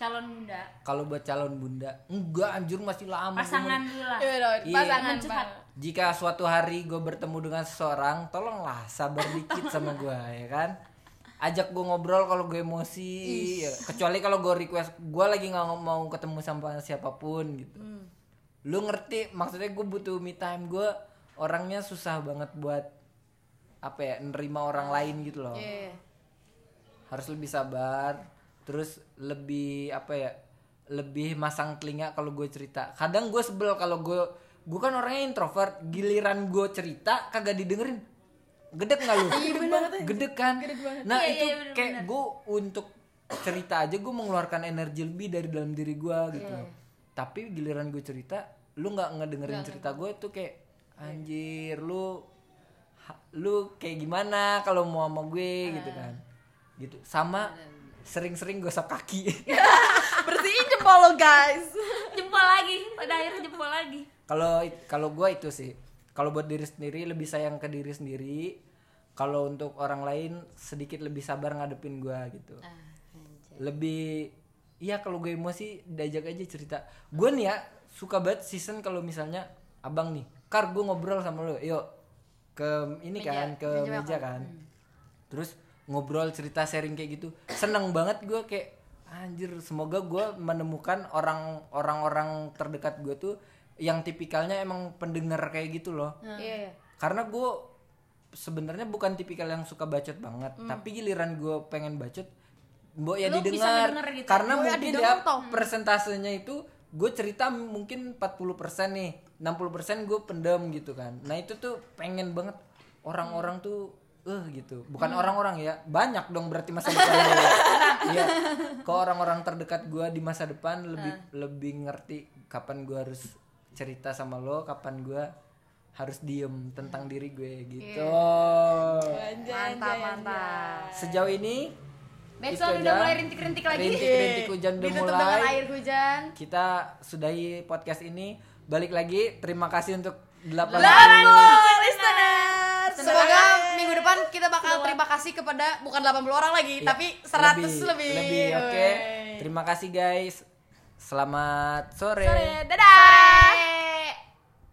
Speaker 4: calon bunda
Speaker 1: kalau buat calon bunda, enggak anjur masih lama.
Speaker 4: pasangan dulu lah
Speaker 2: Iya dong,
Speaker 1: Iya.
Speaker 2: pasangan
Speaker 4: Mencetak.
Speaker 2: Bang.
Speaker 1: Jika suatu hari gue bertemu dengan seseorang, tolonglah sabar dikit sama gue <laughs> ya kan. Ajak gue ngobrol kalau gue emosi, ya. kecuali kalau gue request gue lagi nggak ngom- mau ketemu sama siapapun gitu. Lu ngerti maksudnya gue butuh me time gue orangnya susah banget buat apa ya nerima orang lain gitu loh. Harus lebih sabar, terus lebih apa ya? Lebih masang telinga kalau gue cerita. Kadang gue sebel kalau gue gue kan orangnya introvert, giliran gue cerita kagak didengerin. Gedek nggak <laughs> lu? Iya, Gedek kan? Nah, itu kayak gue untuk cerita aja gue mengeluarkan energi lebih dari dalam diri gue gitu. Tapi giliran gue cerita, lu nggak Iya. ngedengerin cerita gue tuh kayak anjir lu ha- lu kayak gimana kalau mau sama gue gitu kan gitu sama sering-sering gosok kaki <laughs>
Speaker 2: Bersihin jempol lo guys
Speaker 4: jempol lagi pada akhirnya jempol lagi
Speaker 1: kalau it- kalau gue itu sih kalau buat diri sendiri lebih sayang ke diri sendiri kalau untuk orang lain sedikit lebih sabar ngadepin gue gitu lebih iya kalau gue emosi diajak aja cerita gue nih ya suka banget season kalau misalnya abang nih kar gue ngobrol sama lo yuk ke ini kan ke meja, kan terus ngobrol cerita sharing kayak gitu seneng banget gue kayak anjir semoga gue menemukan orang orang orang terdekat gue tuh yang tipikalnya emang pendengar kayak gitu loh
Speaker 3: Iya, iya.
Speaker 1: karena gue sebenarnya bukan tipikal yang suka bacot banget tapi giliran gue pengen bacot mbok ya
Speaker 4: Hmm. Lu bisa
Speaker 1: didengar
Speaker 4: denger gitu.
Speaker 1: karena
Speaker 2: Mbok
Speaker 1: mungkin
Speaker 2: ya
Speaker 1: ya
Speaker 2: didengar toh.
Speaker 1: persentasenya itu gue cerita mungkin 40% nih 60% gue pendem gitu kan nah itu tuh pengen banget orang-orang tuh eh gitu bukan
Speaker 4: Hmm.
Speaker 1: orang-orang ya banyak dong berarti
Speaker 4: <laughs>
Speaker 1: masa depan gue. Iya. ke orang-orang terdekat gue di masa depan lebih
Speaker 4: Hmm.
Speaker 1: lebih ngerti kapan gue harus cerita sama lo kapan gue harus diem tentang diri gue gitu
Speaker 3: Iya. Mantap, mantap.
Speaker 1: sejauh ini
Speaker 4: Besok
Speaker 1: itu
Speaker 4: udah
Speaker 1: aja.
Speaker 4: mulai rintik-rintik lagi.
Speaker 1: rintik-rintik hujan udah
Speaker 3: Ditutup
Speaker 1: mulai
Speaker 3: dengan air hujan.
Speaker 1: kita sudahi podcast ini balik lagi terima kasih untuk 80
Speaker 3: listeners. Semoga minggu depan kita bakal terima kasih kepada bukan 80 orang lagi,
Speaker 1: Ya,
Speaker 3: tapi 100 Iya. lebih.
Speaker 1: lebih, oke
Speaker 3: Wey.
Speaker 1: terima kasih guys selamat sore
Speaker 2: Dadah.